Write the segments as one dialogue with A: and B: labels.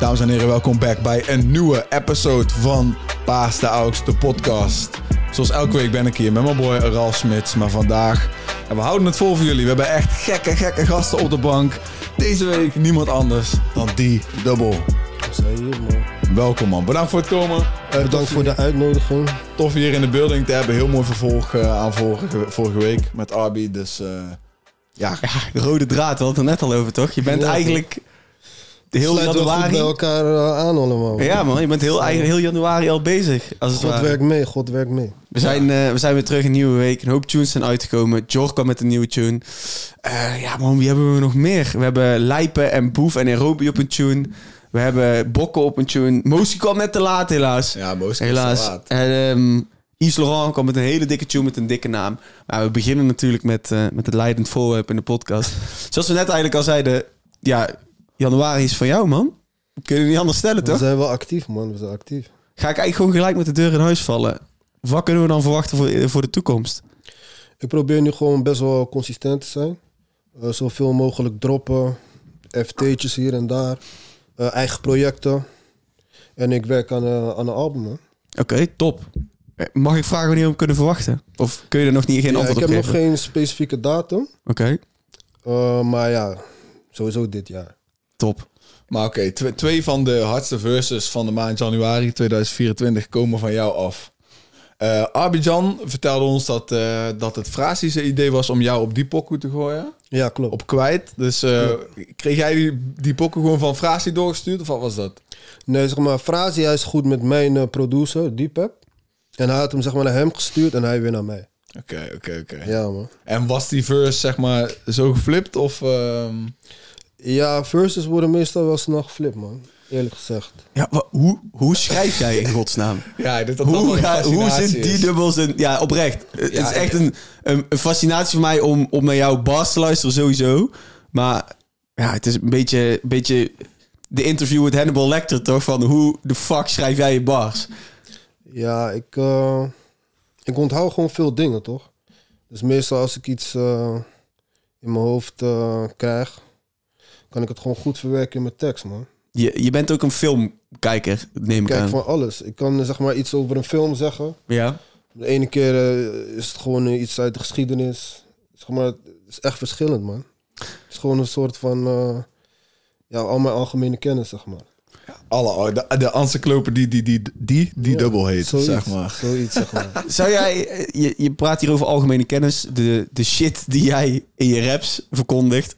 A: Dames en heren, welkom back bij een nieuwe episode van Paas de Aux, de podcast. Zoals elke week ben ik hier met mijn boy Ralf Smits, maar vandaag... En we houden het vol voor jullie. We hebben echt gekke, gekke gasten op de bank. Deze week niemand anders dan die dubbel.
B: zijn hier, man.
A: Welkom man, bedankt voor het komen. Eh,
B: Bedankt Eh, voor de uitnodiging.
A: Tof je hier in de building te hebben. Heel mooi vervolg eh, aan vorige, vorige week met Arby. Dus eh, ja,
C: Ja, de rode draad, we hadden het er net al over, toch? Je bent
B: Ja.
C: eigenlijk de heel
B: Sluiten we goed bij
C: januari...
B: elkaar eh, aan allemaal.
C: Ja man, je bent heel, eigenlijk heel januari al bezig, als het
B: God
C: ware.
B: werkt mee, God werkt mee.
C: We zijn, eh, we zijn weer terug in een nieuwe week. Een hoop tunes zijn uitgekomen. Jor kwam met een nieuwe tune. Eh, ja man, wie hebben we nog meer? We hebben Lijpen en Boef en Aerobie op een tune. We hebben Bokken op een tune. Mosi kwam net te laat helaas.
A: ja Moos
C: helaas. En, ehm, Yves Laurent kwam met een hele dikke tune met een dikke naam. Maar we beginnen natuurlijk met, eh, met het leidend voorwerp in de podcast. Zoals we net eigenlijk al zeiden. Ja, januari is van jou man. Kun je niet anders stellen
B: We
C: toch?
B: zijn wel actief, man. We zijn actief.
C: Ga ik eigenlijk gewoon gelijk met de deur in huis vallen. Wat kunnen we dan verwachten voor, voor de toekomst?
B: Ik probeer nu gewoon best wel consistent te zijn. Eh, zoveel mogelijk droppen. FT'tjes hier en daar. Eh, eigen projecten. En ik werk aan, eh, aan een album, man.
C: Oké, top. Eh, Mag ik vragen wanneer we hem kunnen verwachten? Of kun je er nog niet geen
B: Ja, ik
C: antwoord
B: heb
C: op
B: nog
C: geven?
B: geen specifieke datum.
C: Oké,
B: eh, maar ja, sowieso dit jaar.
C: top.
A: Maar oké, tw- twee van de hardste verses van de maand januari 2024 komen van jou af. Eh Abidjan vertelde ons dat, eh, dat het Frasi's idee was om jou op die pokoe te gooien.
B: Ja, klopt.
A: Op kwijt. Dus eh, kreeg jij die, die pokoe gewoon van Frasi doorgestuurd? Of wat was dat?
B: Nee, zeg maar, Frazi, hij is goed met mijn eh, producer, Deepak. En hij had hem zeg maar naar hem gestuurd en hij weer naar mij.
A: Oké, oké, oké.
B: Ja, man.
A: En was die verse zeg maar zo geflipt? Of, ehm,
B: Ja, verses worden meestal wel snel geflipt, man. Eerlijk gezegd.
C: Ja, wa- hoe, hoe schrijf jij in godsnaam?
A: Ja, ik denk dat dat wel
C: Hoe,
A: een
C: ga- hoe
A: fascinatie
C: zit die
A: is.
C: dubbels in? Ja, oprecht. Het
A: Ja,
C: is echt een, een, een fascinatie voor mij om, om naar jouw bars te luisteren, sowieso. Maar ja, het is een beetje, een beetje de interview met Hannibal Lecter, toch? Van hoe de fuck schrijf jij je bars?
B: Ja, ik, eh, ik onthoud gewoon veel dingen, toch? Dus meestal als ik iets eh, in mijn hoofd eh, krijg, kan ik het gewoon goed verwerken in mijn tekst, man.
C: Je, je bent ook een filmkijker, neem
B: Ik
C: ik
B: kijk
C: aan.
B: van alles. Ik kan eh, zeg maar iets over een film zeggen.
C: Ja.
B: De ene keer eh, is het gewoon eh, iets uit de geschiedenis. Zeg maar, het is echt verschillend, man. Het is gewoon een soort van... eh, ja, al mijn algemene kennis, zeg maar.
A: Alle, oh, de, de encyclopedie die, die, die, die
B: Ja,
A: dubbel heet,
B: zoiets,
A: zeg maar.
B: Zoiets, zeg maar.
C: Zou jij, eh, je, je praat hier over algemene kennis, de, de shit die jij in je raps verkondigt,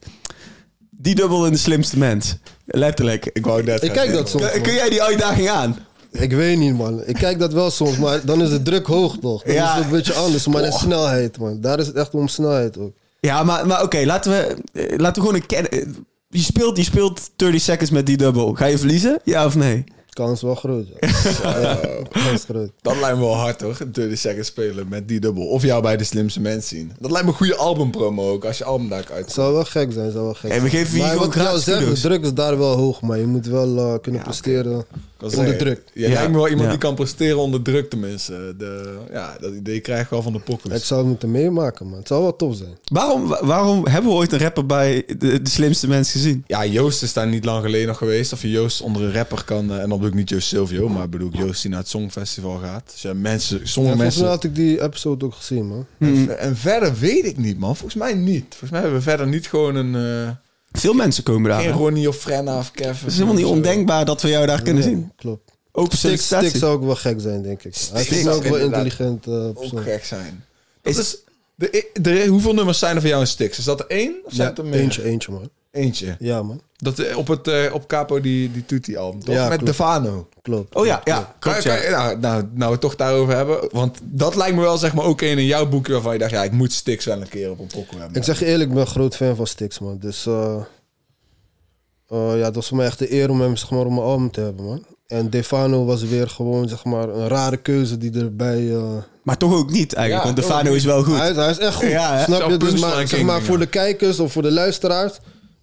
C: die dubbel in de slimste mens. Letterlijk.
A: Ik wou net
B: Ik kijk dat soms,
C: Kun,
B: man.
C: kun jij die uitdaging aan?
B: Ik weet niet, man. Ik kijk dat wel soms, maar dan is de druk hoog, toch? Dan
C: Ja.
B: is het een beetje anders, maar de snelheid, man. Daar is het echt om snelheid ook.
C: Ja, maar, maar oké, laten, we, eh, laten we gewoon een ken- eh, Je speelt, je speelt 30 seconds met die dubbel. Ga je verliezen? Ja of nee?
B: Kans wel groot, ja. ja kans groot.
A: Dat lijkt me wel hard hoor. 30 seconds spelen met die dubbel. Of jou bij de slimste mens zien. Dat lijkt me een goede albumpromo ook. Als je album daar uit.
B: zou wel gek zijn, zou wel gek
C: Hey, we geven hier
B: zijn. Maar
C: gewoon
B: wat ik jou
C: gratis
B: zeg, de
C: kudos.
B: druk is daar wel hoog, maar je moet wel eh, kunnen presteren onder druk.
A: Je
C: Ja.
A: lijkt me wel iemand
C: Ja.
A: die kan presteren onder druk tenminste. De, ja, dat idee krijg ik wel van de
B: Ik
A: pokkels.
B: zou het moeten meemaken, man. Het zou wel tof zijn.
C: Waarom, wa- waarom hebben we ooit een rapper bij de, de slimste mens gezien?
A: Ja, Joost is daar niet lang geleden nog geweest. Of je Joost onder een rapper kan. eh, en dan bedoel ik niet Joost Silvio. Maar bedoel ik Joost die naar het Songfestival gaat. Dus ja, mensen, sommige
B: Ja, volgens
A: mensen...
B: mij had ik die episode ook gezien, man.
A: En, en verder weet ik niet man. Volgens mij niet. Volgens mij hebben we verder niet gewoon een... eh
C: Veel mensen komen daar.
A: geen
C: hè?
A: Ronnie of Frenna of Kevin.
C: Het is helemaal niet ondenkbaar dat we jou daar kunnen
B: Ja,
C: zien.
B: Klopt.
C: Open
B: Stik, Stik
C: sollicitatie.
B: zou ook wel gek zijn, denk ik. Hij
A: Stik
B: is ook wel
A: inderdaad.
B: intelligent eh,
A: Ook
B: persoon.
A: gek zijn. Dat is, de, de, hoeveel nummers zijn er van jou in Stix? Is dat er één? Of zijn
B: Ja,
A: het er meer?
B: eentje, eentje, man.
A: Eentje.
B: Ja, man.
A: Dat, eh, op, het, eh, op Capo die, die Tutti album, toch?
B: Ja,
A: Met
B: klopt.
A: Devano.
B: Klopt.
C: Oh ja, ja.
A: Kan,
C: klopt,
A: kan-
C: ja.
A: nou, nou, nou we het toch daarover hebben. Want dat lijkt me wel zeg maar ook één in jouw boekje waarvan je dacht... Ja, ik moet Stix wel een keer op een pokoe hebben.
B: Ik zeg je eerlijk, ik ben een groot fan van Stix, man. Dus eh, eh, ja, het was voor mij echt de eer om hem zeg maar, op mijn album te hebben, man. En Defano was weer gewoon zeg maar, een rare keuze die erbij... eh,
C: Maar toch ook niet eigenlijk,
A: Ja,
C: want de
A: toch
C: Fano is wel goed.
B: Hij, is- hij is echt goed.
C: Ja, hè?
B: Snap
A: Zo'n
B: je? Dus
A: punchline
B: maar, zeg
A: king,
B: maar
A: ja.
B: voor de kijkers of voor de luisteraars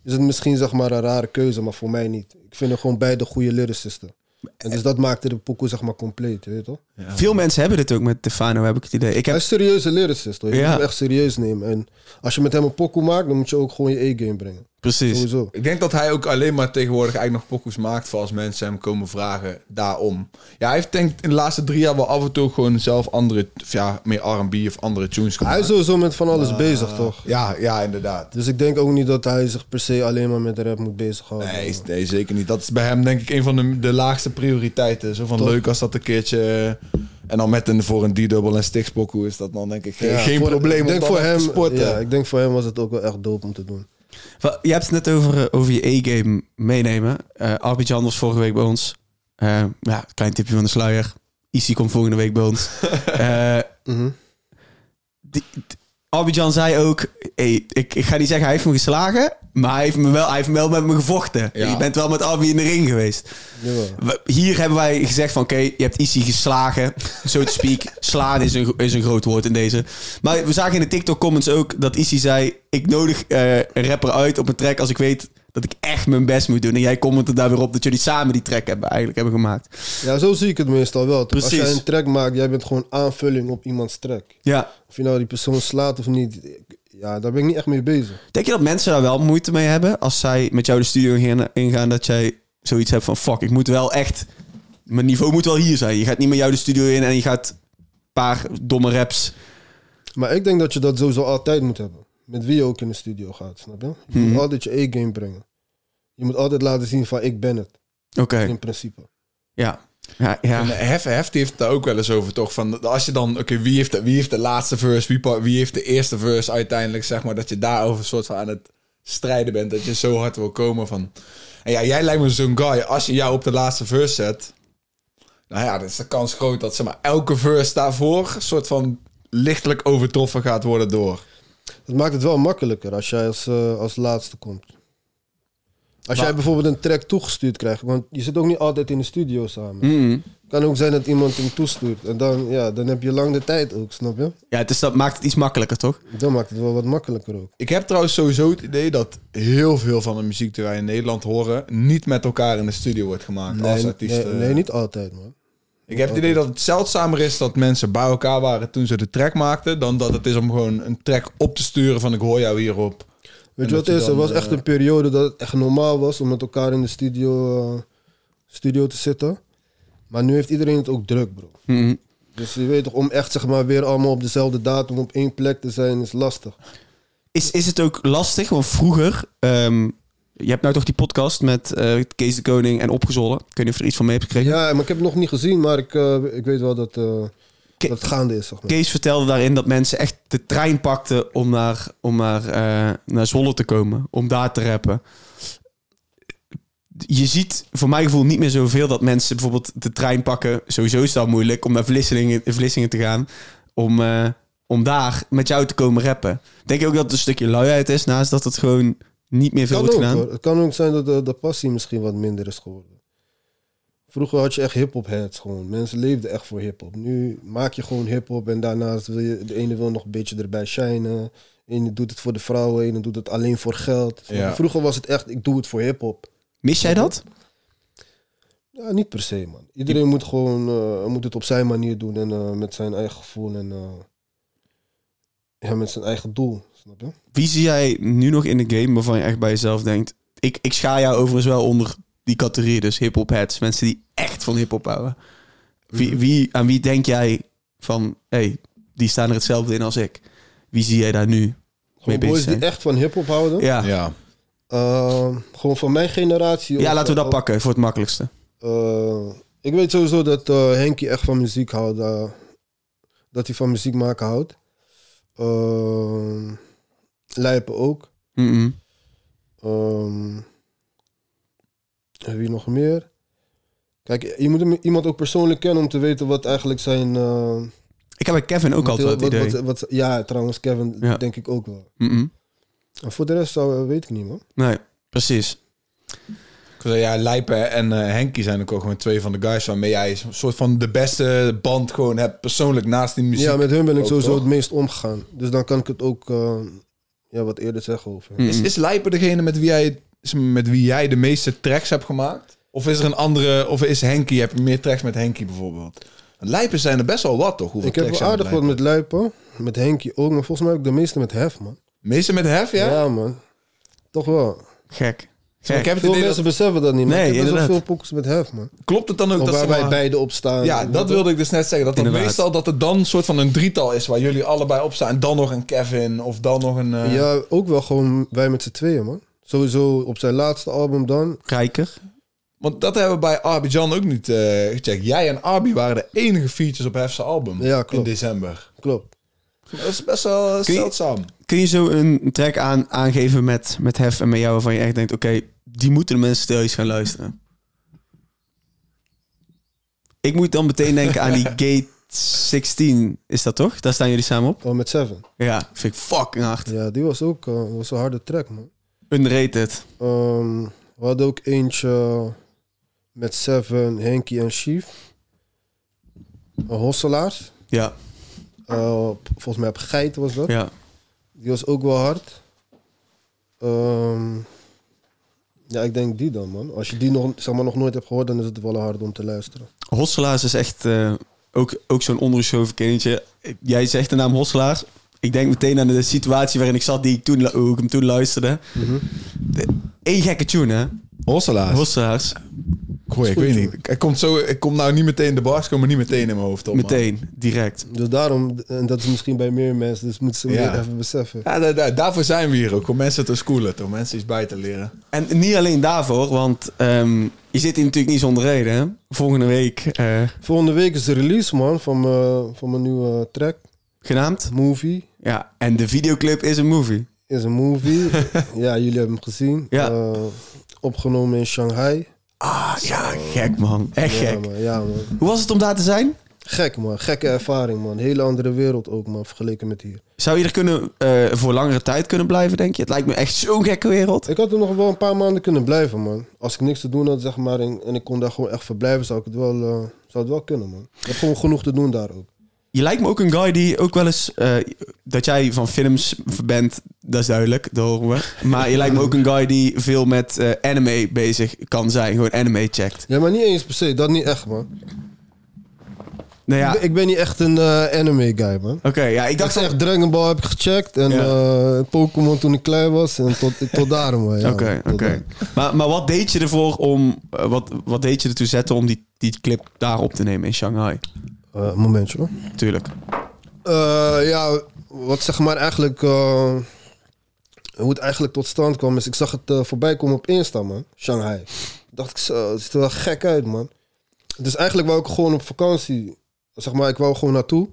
B: is het misschien zeg maar, een rare keuze, maar voor mij niet. Ik vind er gewoon beide goede lyricisten. En dus dat maakte de pokoe zeg maar compleet, weet je toch?
C: Veel mensen hebben dit ook met de Fano, heb ik het idee. Ik
B: Hij
C: heb,
B: is een serieuze lyricist, hoor. Je
C: Ja.
B: moet hem echt serieus nemen. En als je met hem een pokoe maakt, dan moet je ook gewoon je E-game brengen.
C: Precies.
B: Sowieso.
A: Ik denk dat hij ook alleen maar tegenwoordig eigenlijk nog pokoes maakt voor als mensen hem komen vragen daarom. Ja, hij heeft denk ik in de laatste drie jaar wel af en toe gewoon zelf andere, of ja, meer R&B of andere tunes
B: Hij
A: gemaakt.
B: is sowieso met van
A: Ah.
B: alles bezig, toch?
A: Ja, ja, inderdaad.
B: Dus ik denk ook niet dat hij zich per se alleen maar met rap moet bezighouden.
A: Nee, is- nee, zeker niet. Dat is bij hem denk ik een van de, de laagste prioriteiten. Zo van
B: Toch?
A: leuk als dat een keertje... eh, En dan met een voor een D-double en stikspokoe is dat dan denk ik geen,
B: Ja,
A: geen
B: voor-
A: probleem
B: Ik
A: om
B: denk,
A: dan
B: voor
A: even
B: hem,
A: te sporten.
B: ja, ik denk voor hem was het ook wel echt dope om te doen.
C: Wel, Je hebt het net over, eh, over je E-game meenemen. Eh Abidjan was vorige week bij ons. Eh, ja, klein tipje van de sluier. Issy komt volgende week bij ons. Eh
B: Mhm.
C: die, t- Abidjan zei ook... Hey, ik, ik ga niet zeggen hij heeft me geslagen... maar hij heeft, me wel, hij heeft wel met me gevochten.
A: Ja.
C: Je bent wel met Abi in de ring geweest.
B: Jawel.
C: We- Hier hebben wij gezegd van... oké, je hebt Issy geslagen. Zo te speak. Slaan is een, gro- is een groot woord in deze. Maar we zagen in de TikTok-comments ook dat Issy zei... ik nodig eh, een rapper uit op een track als ik weet... dat ik echt mijn best moet doen. En jij commentte daar weer op dat jullie samen die track hebben, eigenlijk hebben gemaakt.
B: Ja, zo zie ik het meestal wel. toch? Als
C: Precies.
B: jij een track maakt, jij bent gewoon aanvulling op iemands track.
C: Ja.
B: Of je nou die persoon slaat of niet, ik- ja, daar ben ik niet echt mee bezig.
C: Denk je dat mensen daar wel moeite mee hebben als zij met jou de studio ingaan- ingaan dat jij zoiets hebt van fuck, ik moet wel echt mijn niveau moet wel hier zijn. Je gaat niet met jou de studio in en je gaat een paar domme raps.
B: Maar ik denk dat je dat sowieso altijd moet hebben. Met wie je ook in de studio gaat, snap je? Je moet altijd je A-game brengen. Je moet altijd laten zien van ik ben het,
C: Oké.
B: in principe.
C: Ja. Ja, ja.
A: En eh, Hef, Hef die heeft het daar ook wel eens over, toch? Van als je dan, oké, wie, heeft de, wie heeft de laatste verse, wie, pa- wie heeft de eerste verse uiteindelijk, zeg maar, dat je daarover soort van aan het strijden bent, dat je zo hard wil komen van. En ja, jij lijkt me zo'n guy, als je jou op de laatste verse zet, nou ja, dan is de kans groot dat zeg maar, elke verse daarvoor een soort van lichtelijk overtroffen gaat worden door.
B: Dat maakt het wel makkelijker als jij als, eh, als laatste komt. Als jij bijvoorbeeld een track toegestuurd krijgt, want je zit ook niet altijd in de studio samen.
C: Mm.
B: kan ook zijn dat iemand hem toestuurt. En dan, ja, dan heb je lang de tijd ook, snap je?
C: Ja, dus dat maakt het iets makkelijker, toch?
B: Dan maakt het wel wat makkelijker ook.
A: Ik heb trouwens sowieso het idee dat heel veel van de muziek die wij in Nederland horen, niet met elkaar in de studio wordt gemaakt als eh,
B: nee,
A: artiesten.
B: nee, niet altijd, man.
A: Ik heb het idee dat het zeldzamer is dat mensen bij elkaar waren toen ze de track maakten, dan dat het is om gewoon een track op te sturen van ik hoor jou hierop.
B: Weet
A: dat
B: je wat
A: je
B: het is? Er
A: dan,
B: was
A: eh,
B: echt een periode dat het echt normaal was om met elkaar in de studio, eh, studio te zitten. Maar nu heeft iedereen het ook druk, bro.
C: Mm.
B: Dus je weet toch, om echt zeg maar weer allemaal op dezelfde datum op één plek te zijn, is lastig.
C: Is, is het ook lastig? Want vroeger, ehm, je hebt nou toch die podcast met eh, Kees de Koning en Opgezollen. Ik weet niet of je er iets van mee hebt gekregen.
B: Ja, maar ik heb het nog niet gezien, maar ik, eh, ik weet wel dat, eh,
C: Ke-
B: dat het gaande is, zeg maar.
C: Kees vertelde daarin dat mensen echt de trein pakten om naar, om naar, eh, naar Zwolle te komen. Om daar te rappen. Je ziet voor mijn gevoel niet meer zoveel dat mensen bijvoorbeeld de trein pakken. Sowieso is dat moeilijk om naar Vlissingen, Vlissingen te gaan. Om, eh, om daar met jou te komen rappen. Denk je ook dat het een stukje luiheid is naast dat het gewoon niet meer veel
B: kan
C: wordt
B: ook,
C: gedaan?
B: hoor. Het kan ook zijn dat de, de passie misschien wat minder is geworden. Vroeger had je echt hip-hop heads gewoon. Mensen leefden echt voor hip-hop. Nu maak je gewoon hip-hop en daarnaast wil je, de ene wil nog een beetje erbij shinen. De ene doet het voor de vrouwen, de ene doet het alleen voor geld.
A: Ja.
B: Vroeger was het echt, ik doe het voor hip-hop.
C: Mis jij dat?
B: Ja, niet per se, man. Iedereen moet gewoon eh, moet het op zijn manier doen en eh, met zijn eigen gevoel en eh, ja, met zijn eigen doel. Snap je?
C: Wie zie jij nu nog in de game waarvan je echt bij jezelf denkt... Ik, ik schaar jou overigens wel onder die categorie, dus hip-hop heads. Mensen die echt van hip-hop houden.
B: Mhm.
C: Wie, wie, aan wie denk jij van, hé, hey, die staan er hetzelfde in als ik? Wie zie jij daar nu mee
B: Gewoon
C: bezig
B: boys
C: zijn?
B: die echt van hip-hop houden.
C: Ja. Ja.
A: Ja.
B: Eh, gewoon van mijn generatie. of- eh,
C: laten we dat
B: of-
C: pakken voor het makkelijkste.
B: Eh, ik weet sowieso dat eh Henkie echt van muziek houdt. eh, dat hij van muziek maken houdt. Ehm Lijpen ook.
C: Mm-mm.
B: Ehm, en wie nog meer? Kijk, je moet hem- iemand ook persoonlijk kennen om te weten wat eigenlijk zijn... eh,
C: Ik heb bij Kevin ook
B: wat-
C: altijd
B: wat,
C: dat idee.
B: wat- wat- Ja, trouwens, Kevin
C: Ja.
B: denk ik ook wel.
C: Mm-mm.
B: En voor de rest zou, weet ik niet, man.
C: Nee, precies.
A: Ik wil zeggen, ja, Lijpen en eh Henkie zijn ook wel gewoon twee van de guys waarmee jij een soort van de beste band gewoon hebt persoonlijk naast die muziek.
B: ja, met hun ben ik
A: ook,
B: sowieso
A: toch?
B: het meest omgegaan. Dus dan kan ik het ook eh, ja, wat eerder zeggen over.
C: Mm-mm.
A: Is, is Lijpen degene met wie, jij, is- met wie jij de meeste tracks hebt gemaakt? Of is er een andere, of is Henkie, heb je meer tracks met Henkie bijvoorbeeld? Lijpen zijn er best wel wat, toch? Hoeveel
B: Ik heb
A: tracks
B: wel
A: zijn er
B: aardig
A: met
B: wat met Luipen. Met Henkie ook. Maar volgens mij ook de meeste met Hef, man.
A: Lijpen? Meeste met Hef, ja?
B: man. Toch wel.
C: Gek.
A: Maar ik heb het
B: Veel
A: idee
B: mensen
A: dat,
B: beseffen dat niet, man.
C: Nee,
B: ik heb best wel
C: inderdaad.
B: veel pokkers met hef, man.
A: klopt het dan ook dat
B: Waar
A: ze
B: wij
A: maar-
B: beide op staan.
A: Ja,
B: En
A: dat wilde ik dus net zeggen. Dat dat
C: Inderdaad.
A: meestal dat het dan een soort van een drietal is waar jullie allebei op staan. En dan nog een Kevin of dan nog een... eh,
B: Ja, ook wel gewoon wij met z'n tweeën, man. Sowieso op zijn laatste album dan.
C: Rijker.
A: Want dat hebben we bij Arbidjan ook niet eh, gecheckt. Jij en Arby waren de enige features op Hef's album
B: Ja, klopt.
A: in december.
B: Klopt.
A: Dat is best wel eh,
C: Kun je-
A: zeldzaam.
C: Kun je zo een track aan, aangeven met, met Hef en met jou waarvan je echt denkt... Oké, die moeten de mensen thuis gaan luisteren. Ik moet dan meteen denken aan die Gate 16. Is dat toch? Daar staan jullie samen op?
B: Oh, met Seven.
C: Ja, vind ik fucking hard.
B: Ja, die was ook eh, was een harde track, man.
C: Underrated.
B: Ehm, we hadden ook eentje eh, met Seven, Henky en Chief. Eh, Hosselaars.
C: Ja,
B: Eh, op- volgens mij op Geit was dat.
C: ja.
B: Die was ook wel hard. Ehm, ja, ik denk die dan, man. Als je die nog, zeg maar, nog nooit hebt gehoord, dan is het wel hard om te luisteren.
C: Hosselaars is echt eh, ook, ook zo'n ondergeschoven kindje. Jij zegt de naam Hosselaars. Ik denk meteen aan de situatie waarin ik zat, die ik toen, lu- hoe ik hem toen luisterde. Eén gekke tune, hè?
A: Hosselaars.
C: Hosselaars.
A: Goeie, ik weet niet. Ik kom, zo, ik kom nou niet meteen de bars, komen niet meteen in mijn hoofd op.
B: eh,
A: man.
C: Meteen, direct.
B: Dus daarom, en dat is misschien bij meer mensen, dus moeten ze
A: Ja.
B: meer even beseffen.
A: Ja, da- da- daarvoor zijn we hier ook. Om mensen te schoolen, om mensen iets bij te leren.
C: En niet alleen daarvoor, want ehm, je zit hier natuurlijk niet zonder reden. Hè? Volgende week eh,
B: Volgende week is de release, man, van mijn, van mijn nieuwe track.
C: genaamd.
B: Movie.
C: Ja, en de videoclip is een movie.
B: Is een movie. ja, jullie hebben hem gezien.
C: Ja.
B: Eh, opgenomen in Shanghai.
C: Ah, ja, gek man. Echt
B: Ja,
C: gek.
B: man. Ja, man.
C: Hoe was het om daar te zijn?
B: Gek, man. Gekke ervaring, man. Hele andere wereld ook, man, vergeleken met hier.
C: Zou je er kunnen, eh, voor langere tijd kunnen blijven, denk je? Het lijkt me echt zo'n gekke wereld.
B: Ik had er nog wel een paar maanden kunnen blijven, man. Als ik niks te doen had, zeg maar, en, en ik kon daar gewoon echt verblijven, zou ik het wel, eh, zou het wel kunnen, man. Ik heb gewoon genoeg te doen daar ook.
C: Je lijkt me ook een guy die ook wel eens... eh, dat jij van films bent, dat is duidelijk, dat horen we. Maar je lijkt me ook een guy die veel met eh, anime bezig kan zijn. Gewoon anime checkt.
B: Ja, maar niet eens per se. Dat niet echt, man.
C: Nou ja,
B: Ik, ben,
C: oké.
B: ik ben niet echt een eh, anime guy, man.
C: ja, ik
B: Ik dacht
C: dacht echt...
B: echt, Dragon Ball heb ik gecheckt en
C: Ja.
B: eh, Pokémon toen ik klein was en tot, tot daar, man. ja,
C: Oké,
B: tot
C: oké.
B: daar.
C: Maar, maar wat deed je ervoor om... eh, wat, wat deed je ertoe zetten om die, die clip daar op te nemen in Shanghai?
B: Eh, momentje, hoor.
C: Tuurlijk.
B: Eh, ja, wat zeg maar eigenlijk. eh, hoe het eigenlijk tot stand kwam, is ik zag het eh, voorbij komen op Insta, man. Shanghai. Dacht ik, zo, het ziet er wel gek uit, man. Dus eigenlijk wou ik gewoon op vakantie. Zeg maar, ik wou gewoon naartoe.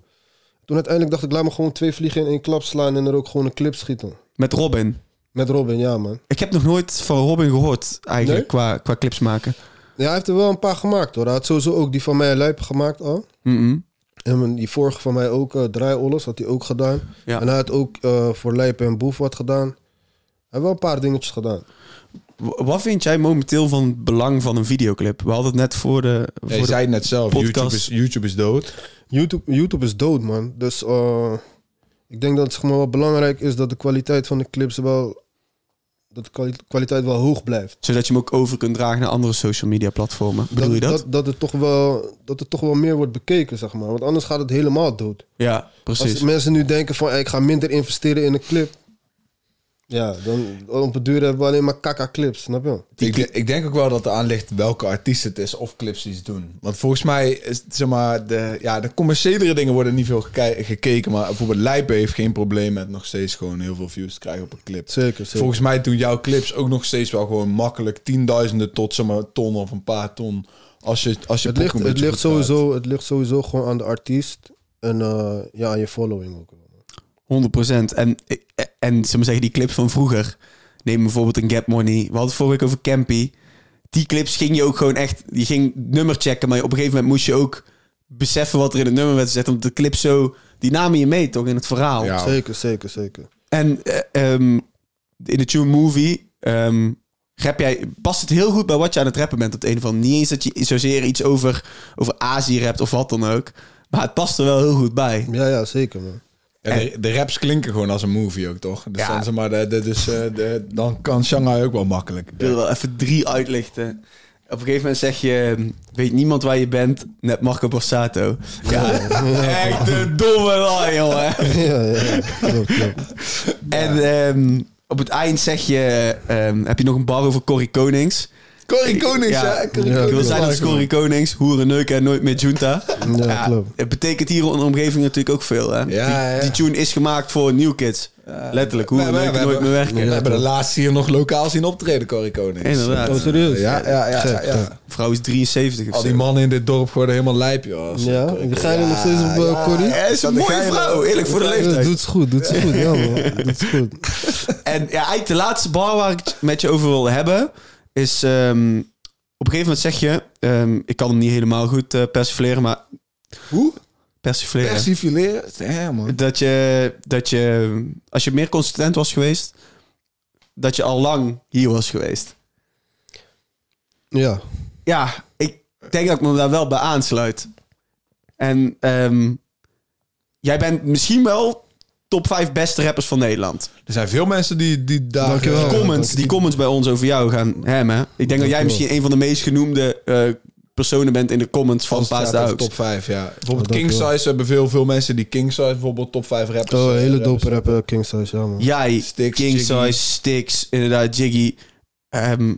B: Toen uiteindelijk dacht ik, laat me gewoon twee vliegen in één klap slaan en er ook gewoon een clip schieten.
C: Met Robin.
B: Met Robin, ja, man.
C: Ik heb nog nooit van Robin gehoord, eigenlijk,
B: Nee?
C: qua, qua clips maken.
B: Ja, hij heeft er wel een paar gemaakt, hoor. Hij had sowieso ook die van mij Lijpen gemaakt al.
C: Mhm.
B: En die vorige van mij ook, eh Draaiolles, had hij ook gedaan.
C: Ja.
B: En hij had ook eh, voor Lijpen en Boef wat gedaan. Hij heeft wel een paar dingetjes gedaan.
C: W- Wat vind jij momenteel van het belang van een videoclip? We hadden het net voor de. Voor
A: Je
C: de-
A: zei het net zelf,
C: podcast.
A: YouTube is, YouTube is dood.
B: YouTube, YouTube is dood, man. Dus eh, ik denk dat het zeg maar, wel belangrijk is dat de kwaliteit van de clips wel. dat de kwali- kwaliteit wel hoog blijft.
C: Zodat je hem ook over kunt dragen naar andere social media platformen. Bedoel je dat?
B: Dat, dat, het toch wel, dat het toch wel meer wordt bekeken, zeg maar. Want anders gaat het helemaal dood.
C: Ja,
B: Als
C: precies.
B: mensen nu denken van, "Hey, ik ga minder investeren in een clip. Ja, dan op het duur hebben we alleen maar kaka clips, snap je?
A: Ik, de- ik denk ook wel dat er aan ligt welke artiest het is of clips die ze doen. Want volgens mij, is, zeg maar, de, ja, de commerciëlere dingen worden niet veel gekei- gekeken. Maar bijvoorbeeld Lijpen heeft geen probleem met nog steeds gewoon heel veel views te krijgen op een clip.
B: Zeker, zeker.
A: Volgens mij doen jouw clips ook nog steeds wel gewoon makkelijk tienduizenden tot zeg maar ton of een paar ton. Als je, als je
B: het,
A: boek
B: ligt,
A: een
B: het,
A: beetje
B: ligt
A: goed draait.
B: sowieso, het ligt sowieso gewoon aan de artiest. En eh, ja, aan je following ook.
C: 100%. En, en zullen we zeggen, die clips van vroeger. Neem bijvoorbeeld een Get Money. We hadden het vorige week over Campy. Die clips ging je ook gewoon echt. Je ging nummer checken, maar op een gegeven moment moest je ook beseffen wat er in het nummer werd gezet. Omdat de clip zo. Die namen je mee toch in het verhaal.
A: Ja.
B: Zeker, zeker, zeker.
C: En eh, ehm, in de Tune Movie ehm, rap jij, past het heel goed bij wat je aan het rappen bent op de een of andere Niet eens dat je zozeer iets over, over Azië rapt of wat dan ook. Maar het past er wel heel goed bij.
B: Ja, ja, zeker, man.
A: Ja, de, de raps klinken gewoon als een movie ook, toch? Dus,
C: Ja.
A: dan, zeg maar, de, de- dus eh, de- dan kan Shanghai ook wel makkelijk. eh,
C: Ik wil wel even drie uitlichten. Op een gegeven moment zeg je, ehm, weet niemand waar je bent, net Marco Borsato. Ja, echt een domme lijn, jongen.
B: ja, ja, ja. Klopt, klopt.
C: En ehm, op het eind zeg je... ehm, heb je nog een bar over Corrie Konings?
A: Corrie Konings,
C: Ja.
A: hè? Corrie
B: Ja,
A: Konings.
C: Ik wil zijn als Corrie Konings, hoeren neuken en nooit meer junta.
B: Ja, klopt.
C: het betekent hier in de omgeving natuurlijk ook veel. Hè?
A: ja.
C: die, die tune is gemaakt voor New Kids. Letterlijk,
A: Hoe
C: hoeren neuken nooit meer werken.
A: We hebben de laatste hier nog lokaal zien optreden, Corrie Konings.
C: Inderdaad.
B: Oh, serieus?
A: Ja, ja, ja. ja,
B: Gek,
A: ja.
B: ja.
C: Vrouw is 73 of
A: Al die
C: zo.
A: mannen in dit dorp worden helemaal lijp, joh.
B: Ja, ga je er nog steeds op, eh, Corrie?
A: Ja,
C: Ja, is een
A: dat
C: mooie
A: ga je nog.
C: vrouw, eerlijk voor de
B: Ja,
C: leeftijd.
B: doet ze goed, doet ze goed. Ja, man. Doet ze goed.
C: En ja, eigenlijk de laatste bar waar ik het met je over wil hebben, is ehm, op een gegeven moment zeg je, ehm, ik kan hem niet helemaal goed eh, persifleren, maar
A: Hoe?
C: persifleren.
A: Persifileren? Ja, man.
C: dat je, dat je, als je meer consistent was geweest, dat je al lang hier was geweest.
B: Ja,
C: Ja, ik denk dat ik me daar wel bij aansluit. En ehm, jij bent misschien wel top 5 beste rappers van Nederland.
A: Er zijn veel mensen die, die daar...
B: Dankjewel.
A: eh,
C: comments, die comments bij ons over jou gaan hem, hè? Ik denk dat jij
B: klopt.
C: misschien een van de meest genoemde eh, personen bent in de comments van
A: Als het
C: Paas
A: gaat
C: de
A: over
C: Hout.
A: top 5, ja. Bijvoorbeeld
B: Oh,
A: King
B: dankjewel.
A: Size hebben veel, veel mensen die King Size bijvoorbeeld top 5 rappers.
B: oh, een hele
A: eh,
B: dope rapper, King Size, ja, man.
C: Jij,
A: Styx,
C: King
A: Jiggy.
C: Size, Sticks, inderdaad, Jiggy. Ehm,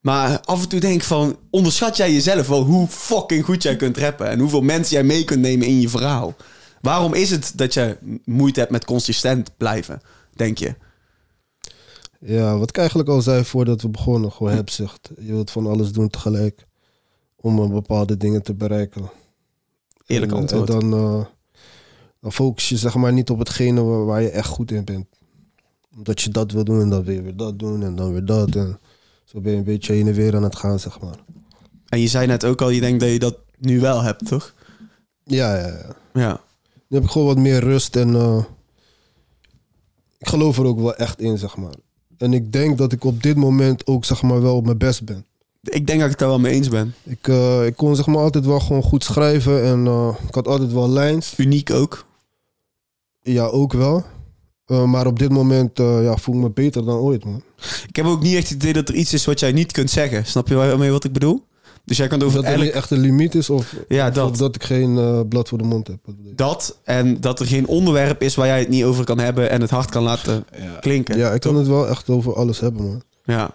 C: maar af en toe denk ik van, onderschat jij jezelf wel hoe fucking goed jij kunt rappen en hoeveel mensen jij mee kunt nemen in je verhaal? Waarom is het dat jij moeite hebt met consistent blijven, denk je?
B: Ja, wat ik eigenlijk al zei voordat we begonnen, gewoon hebzucht. Je wilt van alles doen tegelijk om eh, bepaalde dingen te bereiken.
C: Eerlijk
B: En, eh,
C: antwoord.
B: En dan, eh, dan focus je zeg maar niet op hetgene waar, waar je echt goed in bent. Omdat je dat wil doen en dan weer, weer dat doen en dan weer dat. En zo ben je een beetje heen en weer aan het gaan, zeg maar.
C: En je zei net ook al, je denkt dat je dat nu wel hebt, toch?
B: Ja, ja, ja.
C: Ja.
B: Nu heb ik gewoon wat meer rust en eh, ik geloof er ook wel echt in, zeg maar. En ik denk dat ik op dit moment ook zeg maar wel op mijn best ben.
C: Ik denk dat ik het daar wel mee eens ben.
B: Ik, eh, ik kon zeg maar altijd wel gewoon goed schrijven en eh, ik had altijd wel lijns.
C: Uniek ook.
B: Ja, ook wel. Eh, maar op dit moment eh, ja, voel ik me beter dan ooit, man.
C: Ik heb ook niet echt het idee dat er iets is wat jij niet kunt zeggen. Snap je waarmee wat ik bedoel? Dus jij kan het over
B: Dat er niet
C: eigenlijk
B: echt een limiet is of of
C: Ja,
B: dat,
C: dat.
B: ik geen eh, blad voor de mond heb. Wat bedoel je?
C: Dat en dat er geen onderwerp is waar jij het niet over kan hebben en het hard kan laten
A: Ja.
C: klinken.
B: Ja, ik kan het wel echt over alles hebben, man.
C: Ja,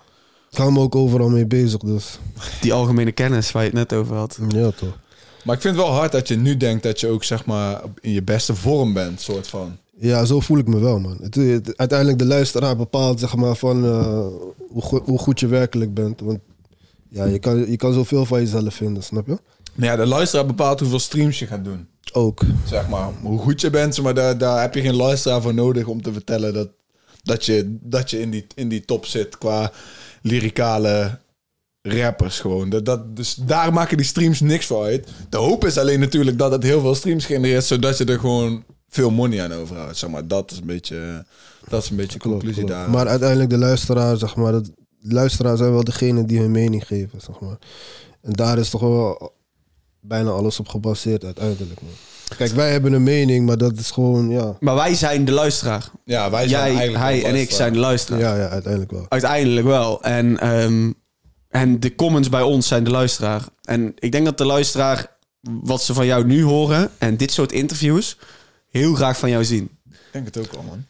B: Ik hou me ook overal mee bezig, dus
C: die algemene kennis waar je het net over had.
B: ja toch.
A: Maar ik vind het wel hard dat je nu denkt dat je ook zeg maar in je beste vorm bent, soort van.
B: Ja, zo voel ik me wel, man. Het, het- uiteindelijk de luisteraar bepaalt zeg maar, van, eh, hoe, go- hoe goed je werkelijk bent. Want ja, je, kan, je kan zoveel van jezelf vinden, snap je?
A: Nou ja, de luisteraar bepaalt hoeveel streams je gaat doen.
B: Ook.
A: Zeg maar, hoe goed je bent, maar daar, daar heb je geen luisteraar voor nodig om te vertellen dat, dat je, dat je in, die, in die top zit qua lyricale rappers gewoon. Dat, dat, dus daar maken die streams niks voor uit. De hoop is alleen natuurlijk dat het heel veel streams genereert, zodat je er gewoon veel money aan overhoudt. Zeg maar, dat is een beetje, dat is een beetje de
B: Klopt,
A: conclusie
B: klopt.
A: daar.
B: Maar uiteindelijk de luisteraar, zeg maar, dat, de luisteraar zijn wel degene die hun mening geven, zeg maar. En daar is toch wel bijna alles op gebaseerd uiteindelijk, man. Kijk, wij hebben een mening, maar dat is gewoon, ja,
C: Maar wij zijn de luisteraar.
A: ja, wij zijn
C: Jij,
A: eigenlijk
C: hij
A: wel
C: en ik
A: luisteraar.
C: zijn de luisteraar.
B: ja, ja uiteindelijk wel.
C: Uiteindelijk wel. En, ehm, en de comments bij ons zijn de luisteraar. En ik denk dat de luisteraar, wat ze van jou nu horen en dit soort interviews, heel graag van jou zien.
A: Ik denk het ook al, man.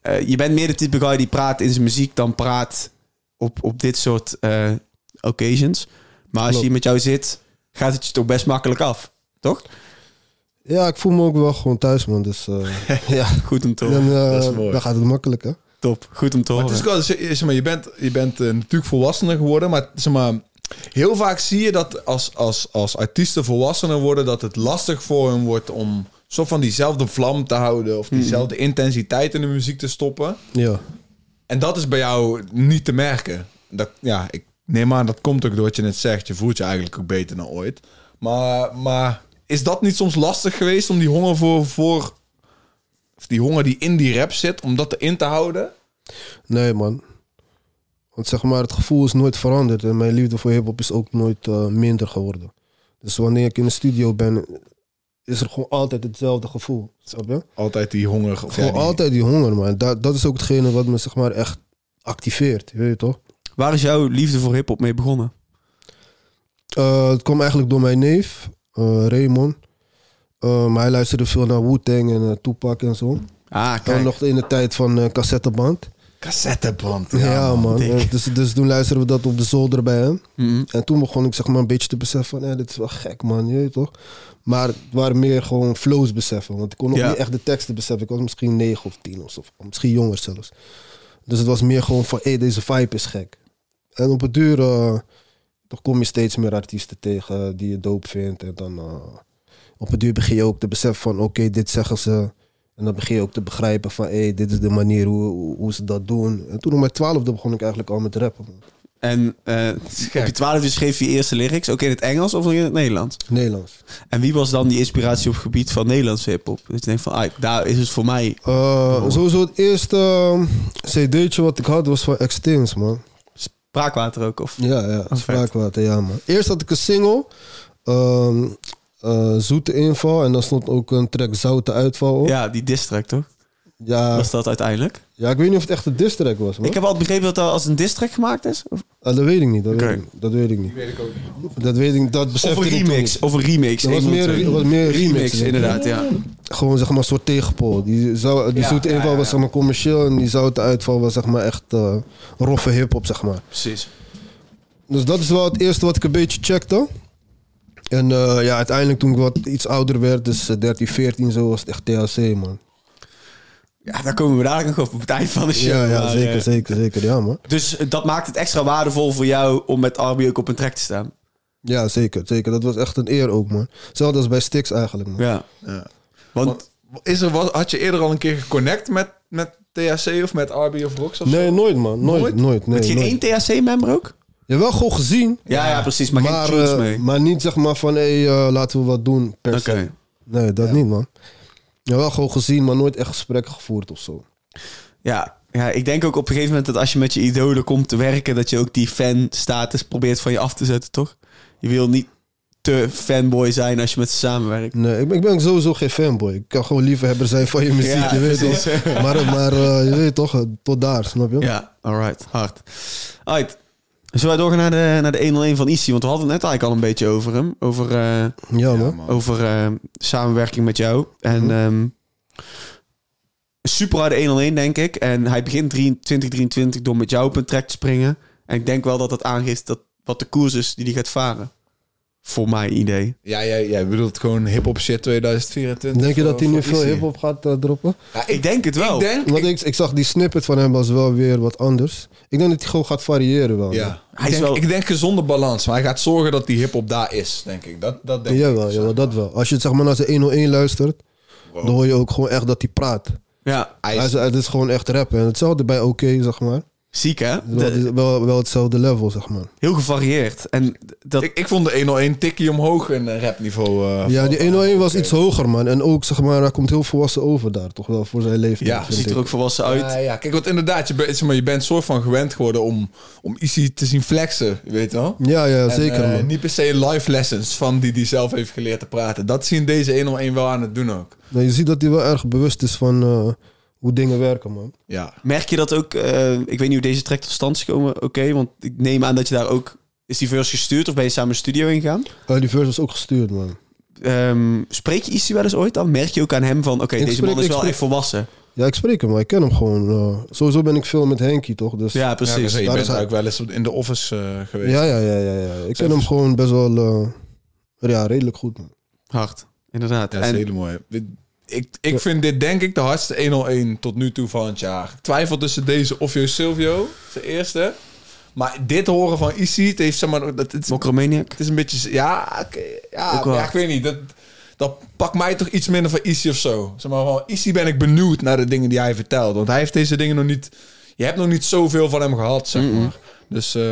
C: Eh, je bent meer de type guy die praat in zijn muziek dan praat op, op dit soort eh, occasions. Maar als
B: Klopt.
C: je met jou zit, gaat het je toch best makkelijk af. Toch?
B: Ja, ik voel me ook wel gewoon thuis, man. Dus eh, ja,
C: Goed om te horen.
B: dan, eh,
A: dat is mooi.
B: dan gaat het makkelijk, hè?
C: Top. Goed om te
A: Maar
C: horen.
A: het is ook wel, zeg- zeg maar, je bent, je bent eh, natuurlijk volwassener geworden, maar, zeg maar heel vaak zie je dat als, als, als artiesten volwassener worden, dat het lastig voor hen wordt om zo van diezelfde vlam te houden of diezelfde intensiteit in de muziek te stoppen.
B: Ja.
A: En dat is bij jou niet te merken. Dat, ja, ik neem aan, dat komt ook door wat je net zegt. Je voelt je eigenlijk ook beter dan ooit. Maar, maar is dat niet soms lastig geweest om die honger voor, voor... Of die honger die in die rap zit, om dat erin te houden?
B: Nee, man. Want zeg maar, het gevoel is nooit veranderd. En mijn liefde voor hip-hop is ook nooit eh, minder geworden. Dus wanneer ik in de studio ben, is er gewoon altijd hetzelfde gevoel. Snap je?
A: Altijd die honger. of ja,
B: Gewoon
A: die-
B: altijd die honger, man. Dat, dat is ook hetgene wat me zeg maar echt activeert. Weet je toch?
C: Waar is jouw liefde voor hip-hop mee begonnen?
B: Eh, het kwam eigenlijk door mijn neef, eh, Raymond. Eh, maar hij luisterde veel naar Wu-Tang en eh, Tupac en zo.
C: Ah,
B: Hij
C: kijk.
B: nog in de tijd van eh cassetteband.
A: Cassetteband.
B: Ja, man.
A: dik.
B: Ja, Dus, dus toen luisterden we dat op de zolder bij hem.
C: Mhm.
B: En toen begon ik zeg maar een beetje te beseffen van, ja, dit is wel gek man, je weet toch? Maar het waren meer gewoon flows beseffen, want ik kon nog
C: Ja.
B: niet echt de teksten beseffen. Ik was misschien 9 of 10 of zo, of misschien jonger zelfs. Dus het was meer gewoon van, hé, deze vibe is gek. En op het duur, eh, toch kom je steeds meer artiesten tegen die je doop vindt. En dan eh, op het duur begin je ook te beseffen van, oké, dit zeggen ze. En dan begin je ook te begrijpen van, hé, dit is de manier hoe, hoe, hoe ze dat doen. En toen op mijn twaalfde begon ik eigenlijk al met rappen. man.
C: En eh op je twaalfde schreef je eerste lyrics, ook in het Engels of in het Nederlands?
B: Nederlands.
C: En wie was dan die inspiratie op het gebied van Nederlandse hiphop? Dat je denkt van, ah, daar is het voor mij.
B: Eh,
C: Oh.
B: Sowieso het eerste ehm, cd'tje wat ik had was van Extins, man.
C: Spraakwater ook, of?
B: Ja, ja.
C: vet.
B: Spraakwater, ja, man. Eerst had ik een single. ehm, eh, zoete inval. En dan stond ook een track Zoute uitval op. Ja,
C: Ja, die district, toch?
B: ja,
C: Was dat uiteindelijk?
B: ik weet niet of het echt een diss track was, man.
C: Ik heb altijd begrepen dat dat als een district gemaakt is. Of,
B: Ah, dat weet ik niet, dat,
C: Oké.
B: weet ik, niet, dat weet ik niet. Dat weet ik niet, dat besefte
C: of een
B: ik toen
C: remix.
B: niet.
C: Of een remix.
B: Er was
C: één van de
B: meer-
C: twee.
B: er was meer remix,
C: remix,
B: denk ik.
C: inderdaad, ja.
B: Gewoon zeg maar een soort tegenpool. Die, zou, die
C: Ja,
B: zoete
C: ja,
B: inval
C: ja,
B: was
C: ja.
B: zeg maar commercieel. En die zoute uitval was zeg maar echt eh, roffe hip-hop, zeg maar.
C: Precies.
B: Dus dat is wel het eerste wat ik een beetje checkte. En eh, ja, uiteindelijk toen ik wat iets ouder werd, dus eh, 13, 14 zo, was het echt THC, man.
C: Ja, daar komen we dadelijk nog op op het eind van de show.
B: Ja, ja
C: maar,
B: zeker,
C: eh,
B: zeker, zeker. Ja, man.
C: Dus eh, dat maakt het extra waardevol voor jou om met Arby ook op een track te staan.
B: Ja, zeker, zeker. Dat was echt een eer ook, man. Hetzelfde als bij Stix eigenlijk, man.
C: Ja.
A: Ja.
C: Want
A: Is er, wat- had je eerder al een keer geconnect met, met THC of met RB of Rox of
B: Nee,
A: zo?
B: nooit, man. Nooit,
A: Nooit?
B: nooit. nee,
C: met geen
B: nooit.
C: één THC-member ook?
B: Ja, wel gewoon gezien,
C: Ja, ja, precies. Maar,
B: maar,
C: geen tunes
B: eh,
C: mee.
B: maar niet zeg maar van, hé, eh, laten we wat doen per
C: Oké.
B: se. Nee, dat niet, man. Ja, wel gewoon gezien, maar nooit echt gesprekken gevoerd of zo.
C: Ja, ja, ik denk ook op een gegeven moment dat als je met je idolen komt te werken, dat je ook die fanstatus probeert van je af te zetten, toch? Je wil niet te fanboy zijn als je met ze samenwerkt.
B: Nee, ik ben, ik ben sowieso geen fanboy. Ik kan gewoon liefhebber zijn van je muziek,
C: Ja,
B: je weet
C: precies.
B: toch? Maar, maar eh, je weet toch, eh, tot daar, snap je?
C: Ja, alright, hard. Alright. Zullen wij doorgaan naar de, naar de 101 van Issy? Want we hadden het net eigenlijk al een beetje over hem. Over, eh,
B: Ja,
A: Ja,
B: man.
A: man.
C: over eh, samenwerking met jou. En
B: Mhm.
C: ehm, super harde 101, denk ik. En hij begint 2023 door met jou op een track te springen. En ik denk wel dat dat aangeeft dat, wat de koers is die hij gaat varen. Voor mijn idee.
A: Ja, jij, jij bedoelt gewoon hip-hop shit 2024.
B: Denk je
A: voor-
B: dat hij
A: voor
B: nu veel
A: Izzy?
B: hip-hop gaat eh, droppen?
A: Ja,
C: Ik denk het wel.
A: ik denk.
B: Want ik, ik zag die snippet van hem was wel weer wat anders. Ik denk dat hij gewoon gaat variëren wel.
A: Ja.
C: Hij
A: ik,
C: is
A: denk,
C: wel-
A: ik denk gezonde balans, maar hij gaat zorgen dat die hip-hop daar is, denk ik. Dat, dat denk
B: Jawel,
A: ik.
B: jawel, dat wel. Als je het zeg maar naar zijn 101 luistert,
A: Wow.
B: dan hoor je ook gewoon echt dat hij praat.
C: Ja,
A: Hij
B: Hij
A: is-
B: is, het is gewoon echt rappen. En hetzelfde bij OK, zeg maar.
C: ziek hè?
B: Wel,
C: De-
B: wel, wel hetzelfde level, zeg maar.
C: heel gevarieerd. En dat,
A: ik, ik vond de 101 tikkie omhoog in eh, rapniveau. eh,
B: Ja,
A: van-
B: die 101 was
A: Oké.
B: iets hoger, man. En ook, zeg maar, hij komt heel volwassen over daar, toch wel, voor zijn leeftijd.
A: Ja,
B: vind
C: ziet
B: ik.
C: er ook volwassen uit.
A: Ja, ja, kijk, want inderdaad, je, bent- zeg maar, je bent soort van gewend geworden om, om Izzy te zien flexen, je weet wel.
B: Ja, ja,
A: En,
B: zeker,
A: eh,
B: man.
A: niet per se live lessons van die die zelf heeft geleerd te praten. Dat zien deze 101 wel aan het doen ook.
B: Nou, je ziet dat hij wel erg bewust is van eh, hoe dingen werken, man.
A: Ja.
C: Merk je dat ook? eh, ik weet niet hoe deze track tot stand is gekomen. Oké, want ik neem aan dat je daar ook... Is die verse gestuurd of ben je samen de studio ingegaan?
B: Eh, die verse is ook gestuurd, man.
C: Ehm, spreek je Issy wel eens ooit dan? Merk je ook aan hem van, oké,
B: Ik
C: deze
B: spreek-
C: man is
B: ik
C: wel
B: spreek-
C: echt volwassen.
B: Ja, ik spreek hem, maar ik ken hem gewoon. eh. sowieso ben ik veel met Henky, toch? Dus,
C: Ja,
A: Ja, maar
C: precies.
A: zo, je
B: Daar
A: bent
B: is hij-
A: ook wel eens op- in de office eh, geweest.
B: ja, ja, ja, ja, ja. Ik ken hem gewoon best wel eh, ja, redelijk goed, man.
C: Hard, inderdaad.
A: Ja, dat is
C: en,
A: hele mooi. Dit- Ik, ik vind dit denk ik de hardste 101 tot nu toe van het jaar. Ik twijfel tussen deze of Jo Silvio, zijn eerste. Maar dit horen van Issy, het heeft zeg maar... Dat, het,
C: Mokromaniac?
A: het is een beetje... Ja, oké, ja,
C: Ook wel
A: ja, ik
C: hard.
A: weet niet. Dat, dat pakt mij toch iets minder van Issy of zo. Zeg maar, van Issy ben ik benieuwd naar de dingen die hij vertelt. Want hij heeft deze dingen nog niet... Je hebt nog niet zoveel van hem gehad, zeg
C: Mm-mm.
A: maar. Dus eh,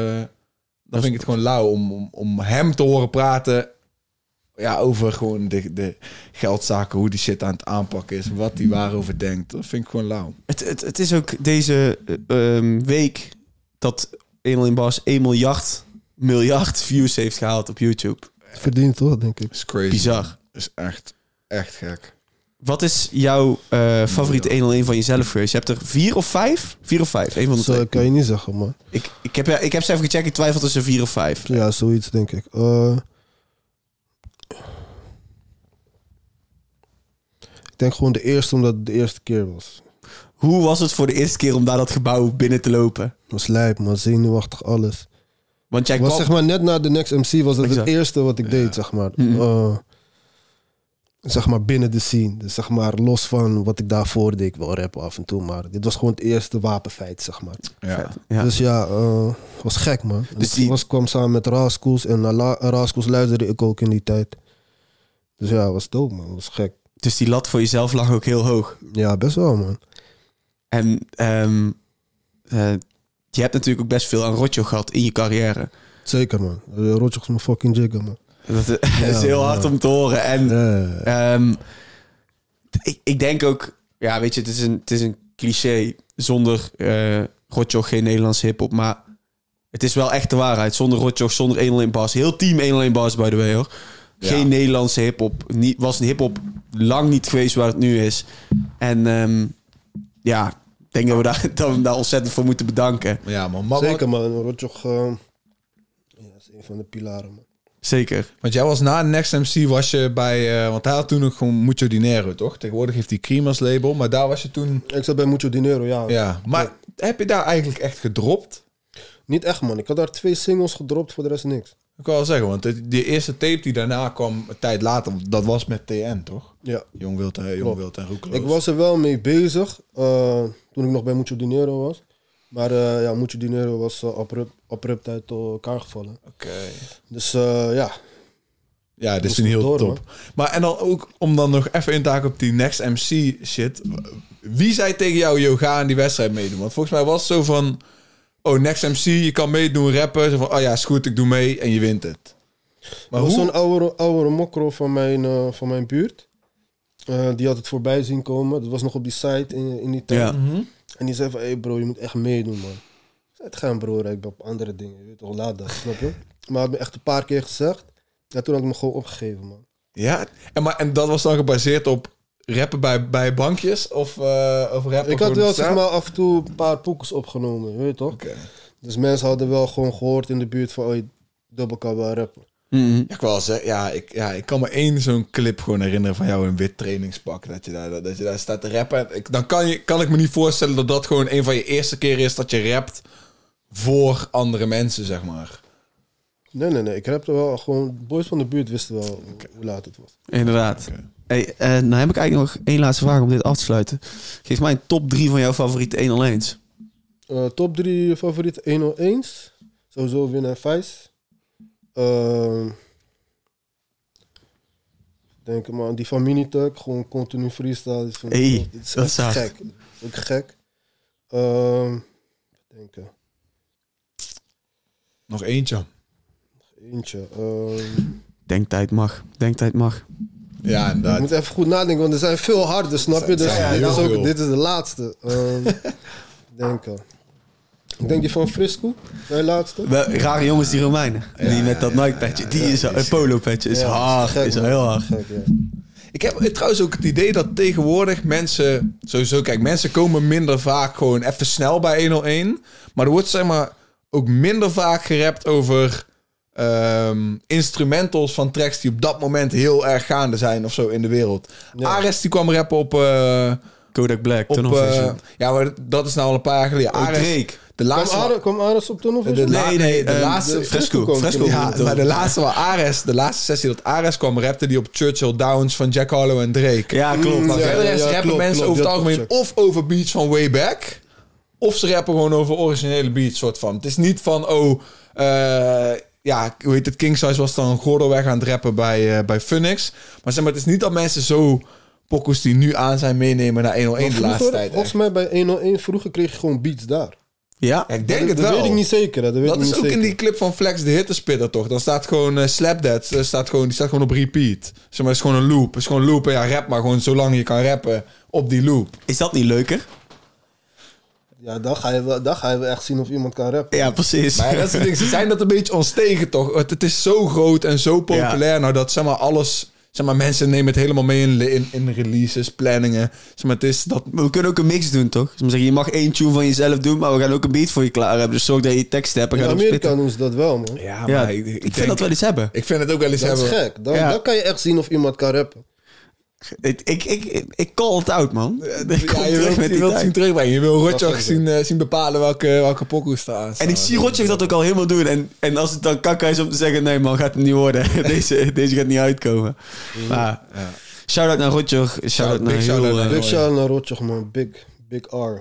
A: dan vind ik het gewoon lauw om, om, om hem te horen praten ja, over gewoon de, de geldzaken, hoe die shit aan het aanpakken is, wat die waarover denkt. Dat vind ik gewoon lauw.
C: Het, het, het is ook deze eh, ehm, week dat 101 Bars 1 miljard, miljard views heeft gehaald op YouTube.
B: Verdient toch, denk ik.
A: Is crazy.
C: Bizar.
A: Is echt, echt gek.
C: Wat is jouw eh, favoriete 101 van jezelf geweest? Je hebt er vier of vijf? Vier of vijf, één van de
B: Dat eh,
C: twee.
B: kan je niet zeggen, man.
C: Ik, ik, heb, ik heb ze even gecheckt, ik twijfel tussen vier of vijf.
B: Ja, zoiets, denk ik. Eh, ik denk gewoon de eerste, omdat het de eerste keer was.
C: Hoe was het voor de eerste keer om daar dat gebouw binnen te lopen?
B: was lijp, maar zenuwachtig alles.
C: Want jij
B: was
C: kwam...
B: zeg maar net na de Next MC was dat
C: Exact.
B: het eerste wat ik deed, zeg maar. Eh, zeg maar binnen de scene. Dus zeg maar los van wat ik daarvoor deed. Ik wel rappen af en toe, maar dit was gewoon het eerste wapenfeit, zeg maar.
A: Ja.
C: Ja.
B: Dus ja, eh, was gek, man. Dus
C: die-
B: die... was, kwam samen met Raskools en naar La- Raskools luisterde ik ook in die tijd. Dus ja, was dope, man. Was gek.
C: Dus die lat voor jezelf lag ook heel hoog.
B: Ja, best wel, man.
C: En ehm, eh, je hebt natuurlijk ook best veel aan rotjo gehad in je carrière.
B: Zeker, man. Eh, Rotjoch is mijn fucking jigger, man.
C: Dat is heel hard om te horen. En
B: Eh,
C: Ehm, ik, ik denk ook, ja, weet je, het is een, het is een cliché zonder eh Rotjoch geen Nederlandse hip-hop, maar het is wel echt de waarheid. Zonder Rotjoch, zonder 101 Bas. Heel team 101 Bas, by the way, hoor. Geen
A: Ja.
C: Nederlandse hip-hop. Niet- Was een hip-hop lang niet geweest waar het nu is. En ehm, ja, ik denk dat we, daar, dat we hem daar ontzettend voor moeten bedanken.
A: Ja, man. Maar
B: Zeker, man. Rotjoch eh, ja, is een van de pilaren, man.
C: Zeker.
A: Want jij was na Next MC was je bij... eh, want hij had toen nog gewoon Mucho Dinero, toch? Tegenwoordig heeft hij Creamers label. Maar daar was je toen...
B: Ik zat bij Mucho Dinero, ja.
A: Ja. Maar heb je daar eigenlijk echt gedropt?
B: Niet echt, man. Ik had daar twee singles gedropt, voor de rest niks.
A: Ik kan wel zeggen, want het- die eerste tape die daarna kwam, een tijd later, dat was met TN, toch?
B: Ja.
A: Jong Wild en, Jong Wild en Roekeloos.
B: Ik was er wel mee bezig eh, toen ik nog bij Mucho Dinero was. Maar eh, ja, Mucho Dinero was eh, abrupt, abrupt uit elkaar gevallen.
A: Oké.
B: Dus eh, ja,
A: Ja, dit is
B: was
A: een heel
B: door,
A: top. Maar en dan ook, om dan nog even in te haken op die Next MC shit. Wie zei tegen jou, yo, ga aan die wedstrijd meedoen? Want volgens mij was het zo van, oh, Next MC, je kan meedoen, rappen. Zo van, oh ja, is goed, ik doe mee en je wint het. Maar
B: er was
A: hoe?
B: zo'n oude, oude mokro van mijn, eh, van mijn buurt. Eh, die had het voorbij zien komen. Dat was nog op die site in, in die tijd.
C: Ja.
B: En die zei van, hey bro, je moet echt meedoen, man. Ik zei, het gaan broer, ik ben op andere dingen. Je weet toch, laat dat, snap je? Maar het had me echt een paar keer gezegd. Ja, toen had ik me gewoon opgegeven, man.
A: Ja, en, maar, en dat was dan gebaseerd op rappen bij, bij bankjes of, eh of rappen
B: Ik had
A: gewoon
B: wel
A: op straat?
B: zeg maar af en toe een paar poekers opgenomen, je weet toch?
A: Oké.
B: Dus mensen hadden wel gewoon gehoord in de buurt van, oh, dubbel kan wel rappen.
C: Mhm.
A: Ja, ik, wel zeg, ja, ik, ja, ik kan me één zo'n clip gewoon herinneren van jou in wit trainingspak. Dat je daar, dat, dat je daar staat te rappen. Ik, dan kan, je, kan ik me niet voorstellen dat dat gewoon een van je eerste keren is dat je rapt voor andere mensen, zeg maar.
B: Nee, nee, nee. Ik rapte wel gewoon, boys van de buurt wisten wel hoe laat het was.
C: Inderdaad.
A: Oké.
C: Hey, eh, nou heb ik eigenlijk nog één laatste vraag om dit af te sluiten. Geef mij een top 3 van jouw favoriete 101's.
B: Eh, top 3 favoriete 101's. Sowieso Win en Vice. Ehm, denk ik, man, die van Minitech, gewoon continu freestyle. is voor mij-
C: Hey,
B: dit
C: dat
B: echt
C: is hard.
B: gek. Dat is Ook gek. Ehm denken.
A: Nog eentje.
B: Eentje. ehm,
C: Denktijd mag. Denktijd mag.
A: Ja,
B: Ik
A: inderdaad.
B: moet even goed nadenken, want er zijn veel harder, snap je?
A: Er zijn-
B: Dus
A: ja,
B: dit,
A: heel
B: is
A: veel.
B: ook, dit is de laatste. Ehm, denken. Ik denk die van Frisco, mijn laatste.
C: Wel, rare jongens, die Romeinen. die met dat Nike-petje. Die is een polo-petje. Is
B: Ja,
C: hard.
B: gek,
C: is
B: man.
C: heel hard.
B: Gek, ja.
A: Ik heb trouwens ook het idee dat tegenwoordig mensen... Sowieso, kijk, mensen komen minder vaak gewoon even snel bij 101. Maar er wordt, zeg maar, ook minder vaak gerapt over... ehm, instrumentals van tracks die op dat moment heel erg gaande zijn of zo in de wereld. Ares die kwam rappen op... eh,
C: Kodak Black.
A: op
C: Tunnel
A: eh,
C: Vision.
A: ja, maar dat is nou al een paar jaar geleden.
C: Oh,
A: Ares,
C: Drake.
A: de
B: Kwam
A: laatste...
B: Ares- Kwam Ares op toen of
A: De
B: zo?
A: la-
C: Nee, nee,
A: de
C: ehm,
A: laatste-
C: de Fresco.
B: Fresco
C: Fresco.
B: komt
A: Ja, maar de laatste waar Ares, de laatste sessie dat Ares kwam, rapte die op Churchill Downs van Jack Harlow en Drake.
C: Ja, klopt.
A: maar
B: ja,
A: verder is
B: ja,
A: rappen
B: klopt,
A: mensen
B: klopt,
A: over het
B: dat
A: algemeen of over beats van way back, of ze rappen gewoon over originele beats soort van. Het is niet van oh, eh, ja, hoe heet het? King Size was dan Gordelweg aan het rappen bij eh, bij Phoenix, maar zeg maar, het is niet dat mensen zo pokkels die nu aan zijn meenemen naar 101 de laatste
B: Vroeger,
A: tijd.
B: Volgens
A: echt.
B: mij bij 101 vroeger kreeg je gewoon beats daar.
C: Ja.
A: Ja, ik denk het
B: dat
A: wel.
B: weet ik niet zeker. hè, Dat, weet
A: Dat
B: ik
A: is
B: niet
A: ook in
B: zeker.
A: die clip van Flex de Hittespitter, toch? Dan staat gewoon eh, Slap That, eh, staat gewoon, die staat gewoon op repeat. Zeg maar, het is gewoon een loop. Het is gewoon loopen, ja, rap maar gewoon zolang je kan rappen op die loop.
C: Is dat niet leuker?
B: Ja, dan ga, je wel, dan ga je wel echt zien of iemand kan rappen.
C: Ja, precies.
A: Maar eh, ja, dat is het ding. Ze zijn dat een beetje ons tegen, toch? Het, het is zo groot en zo populair nou dat, zeg maar, alles... Zeg maar, mensen nemen het helemaal mee in, in, in releases, planningen. Zeg maar, het is dat...
C: Maar We kunnen ook een mix doen, toch? Dus we zeggen, je mag één tune van jezelf doen, maar we gaan ook een beat voor je klaar hebben. Dus zorg dat je tekst hebt en
B: In
C: gaat opsplitten.
B: Amerika doen ze dat wel, man.
A: Ja,
C: Ja,
A: ik,
C: ik,
A: ik
C: vind
A: denk-
C: dat wel iets hebben.
A: Ik vind het ook wel eens
B: Dat is
A: hebben.
B: gek. Dan,
C: Ja.
B: dan kan je echt zien of iemand kan rappen.
C: Ik, ik, ik, ik call het out, man. Ik kom
A: Eh, Ja, je wilt,
C: terug met
A: je
C: die
A: wilt
C: tijd.
A: zien terugbrengen. Je wil Rotjoch
B: is
A: zien, eh, zien bepalen welke, welke pokoe staan.
C: En ik zie Rotjoch dat ook al helemaal doen. En, en als het dan kakka is om te zeggen... Nee man, gaat hem niet worden. Deze, deze gaat niet uitkomen. Maar shout-out naar Rotjoch. Shout-out naar
A: big shout-out
C: heel...
A: naar
C: eh,
B: Big
A: ja.
B: shout naar Rotjoch, man. Big, big R.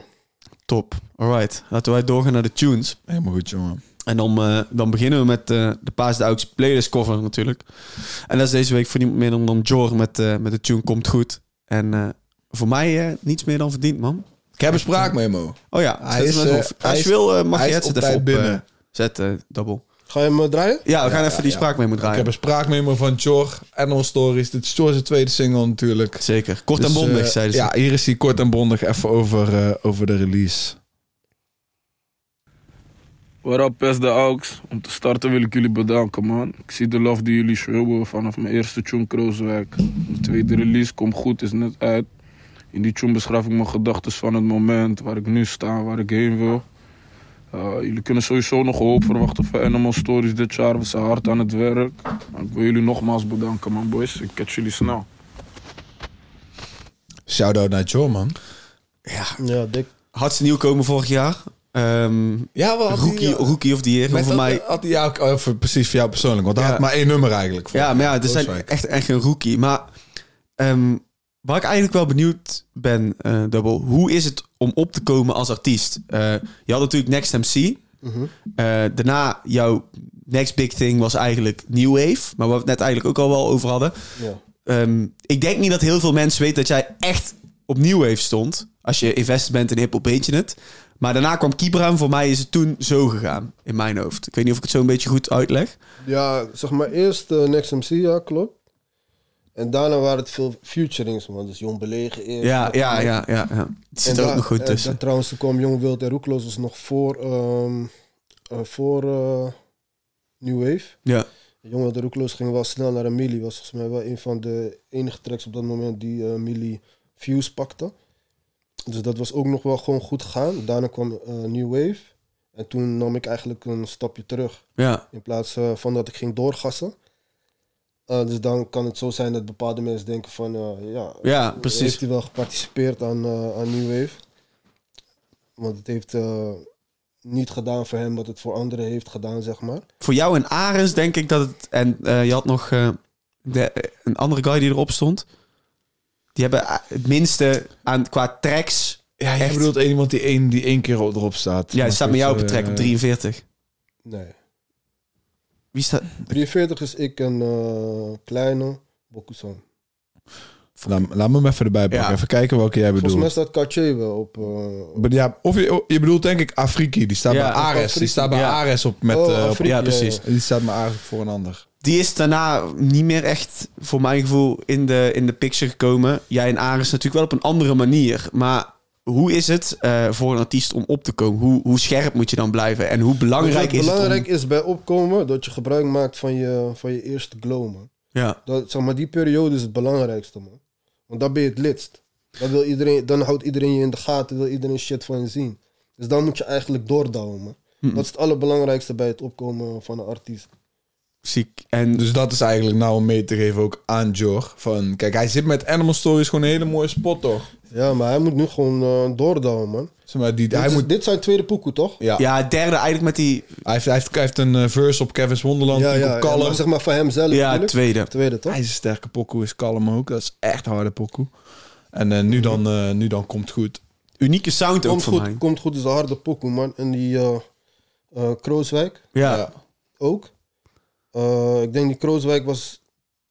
C: top. Alright, laten wij doorgaan naar de tunes.
A: Helemaal goed, jongen.
C: En dan, eh, dan beginnen we met eh, de Paas de Aux playlist cover natuurlijk. En dat is deze week voor niemand meer dan, dan Jor met, eh, met de tune Komt Goed. En eh, voor mij eh, niets meer dan verdiend, man.
A: Ik heb een spraakmemo.
C: Oh ja,
A: Hij
C: zet hem
A: is, eh,
C: even op.
A: hij
C: als
A: is-
C: je wil eh, mag
A: hij
C: je
A: is
C: het
A: op
C: even
A: tijd
C: op
A: binnen.
C: eh, zetten, double.
B: Ga je hem eh, draaien?
C: Ja, we gaan
A: ja,
C: even die
A: ja.
C: spraak mee moeten
A: Ik heb
C: draaien.
A: een spraakmemo van Chor en ons stories. Dit is Chor's tweede single natuurlijk.
C: Zeker. Kort en
A: Dus,
C: bondig,
A: eh,
C: zeiden ze.
A: Ja, hier is hij kort en bondig even over, eh, over de release.
D: Waarop is de AUX? Om te starten wil ik jullie bedanken, man. Ik zie de love die jullie schreeuwen vanaf mijn eerste tune Krooswijk. De tweede release komt goed, is net uit. In die tune beschrijf ik mijn gedachten van het moment, waar ik nu sta, waar ik heen wil. Eh, jullie kunnen sowieso nog een hoop verwachten van Animal Stories dit jaar. We zijn hard aan het werk. Maar ik wil jullie nogmaals bedanken, man, boys. Ik catch jullie snel.
A: Shout-out naar Chor, man.
B: Ja, dik.
C: Had ze nieuw komen vorig jaar. Ehm,
A: Ja, wel. eh,
C: rookie, rookie of the year.
A: Met
C: Voor mij...
A: Had hij jou, oh, voor- precies voor jou persoonlijk. Want hij
C: Ja.
A: had maar één nummer eigenlijk. voor.
C: Ja, maar ja, er zijn
A: Rooswijk.
C: echt, echt een rookie. Maar ehm, waar ik eigenlijk wel benieuwd ben, eh Double, hoe is het om op te komen als artiest? Eh, je had natuurlijk Next MC. Eh, daarna jouw next big thing was eigenlijk New Wave, maar waar we het net eigenlijk ook al wel over hadden.
B: Ja.
C: Ehm, ik denk niet dat heel veel mensen weten dat jij echt op New Wave stond. Als je invested bent in hip-hop, weet je het. Maar daarna kwam Kibra en voor mij is het toen zo gegaan, in mijn hoofd. Ik weet niet of ik het zo een beetje goed uitleg.
B: Ja, zeg maar eerst eh, Next MC, ja, klopt. En daarna waren het veel futurings, man. Dus Jong Belegen eerst.
C: Ja,
B: En
C: ja, ja, ja. ja. eh, Het zit er
B: daar-
C: ook nog goed
B: en
C: tussen.
B: daar trouwens, toen kwam Jong Wild en Roekloos was nog voor, ehm, eh, voor eh, New Wave.
C: Ja,
B: Jong Wild en Roekloos ging wel snel naar Emily. Was volgens mij wel een van de enige tracks op dat moment die eh Emily views pakte. Dus dat was ook nog wel gewoon goed gegaan. Daarna kwam eh, New Wave. En toen nam ik eigenlijk een stapje terug.
C: ja,
B: In plaats eh, van dat ik ging doorgassen. Eh, dus dan kan het zo zijn dat bepaalde mensen denken van... eh, ja,
C: ja,
B: heeft
C: precies.
B: hij wel geparticipeerd aan, eh, aan New Wave? Want het heeft eh, niet gedaan voor hem wat het voor anderen heeft gedaan, zeg maar.
C: Voor jou en Arens denk ik dat het... En eh, je had nog eh, de, eh, een andere guy die erop stond. Die hebben eh, het minste aan, qua tracks...
A: Ja, jij
C: Echt?
A: bedoelt één iemand die één, die één keer erop staat.
C: Ja, het staat met jou op het track op
A: eh,
C: 43.
B: Nee.
C: Wie staat...
B: 43 is ik en eh, Kleine Bokusan.
A: Laat, laat me hem even erbij pakken.
C: Ja.
A: Even kijken welke jij bedoelt.
B: Volgens mij staat Cartier wel op... eh, op-
A: Ja, of je, je bedoelt denk ik Afriki. Die staat bij
C: Ja,
A: Ares. Die
B: Afriki.
A: staat bij
C: Ja.
A: Ares op met...
B: Oh,
A: eh, op-
B: Afriki,
C: ja, precies.
A: die staat bij Ares voor een ander.
C: Die is daarna niet meer echt, voor mijn gevoel, in de, in de picture gekomen. Jij en Arens natuurlijk wel op een andere manier. Maar hoe is het eh, voor een artiest om op te komen? Hoe, hoe scherp moet je dan blijven? En hoe belangrijk
B: Wat
C: is
B: belangrijk
C: het
B: is bij opkomen dat je gebruik maakt van je, van je eerste glow, man.
C: om... Ja,
B: Dat, zeg maar, die periode is het belangrijkste, man. Want dan ben je het lidst. Dan, wil iedereen, dan houdt iedereen je in de gaten, wil iedereen shit van je zien. Dus dan moet je eigenlijk doordouwen, man. Dat is het allerbelangrijkste bij het opkomen van een artiest.
C: ziek. En
A: Dus dat is eigenlijk nou om mee te geven ook aan Jor. Van, kijk, hij zit met Animal Stories gewoon een hele mooie spot, toch?
B: Ja, maar hij moet nu gewoon eh doordouwen, man.
A: Zeg maar, die,
B: Dit,
A: hij,
B: is-
A: moet,
B: dit zijn tweede poekoe, toch?
A: ja,
C: Ja, het derde eigenlijk met die...
A: Hij, heeft, hij, heeft, hij heeft een eh, verse op Kevin's Wonderland.
B: ja,
A: die
B: ja,
A: op
B: ja,
A: Kalm.
B: maar zeg maar van hemzelf.
C: Ja,
B: natuurlijk.
C: tweede.
B: Tweede, toch?
A: IJzersterke pokoe is Kalm ook. Dat is echt harde pokoe. En eh, nu, dan, eh, nu dan komt goed.
C: Unieke sound ook
B: Komt
C: voor
B: goed,
C: mij.
B: komt goed, is een harde pokoe, man. En die eh eh, Krooswijk
C: Ja,
B: ook. Eh, ik denk die Krooswijk was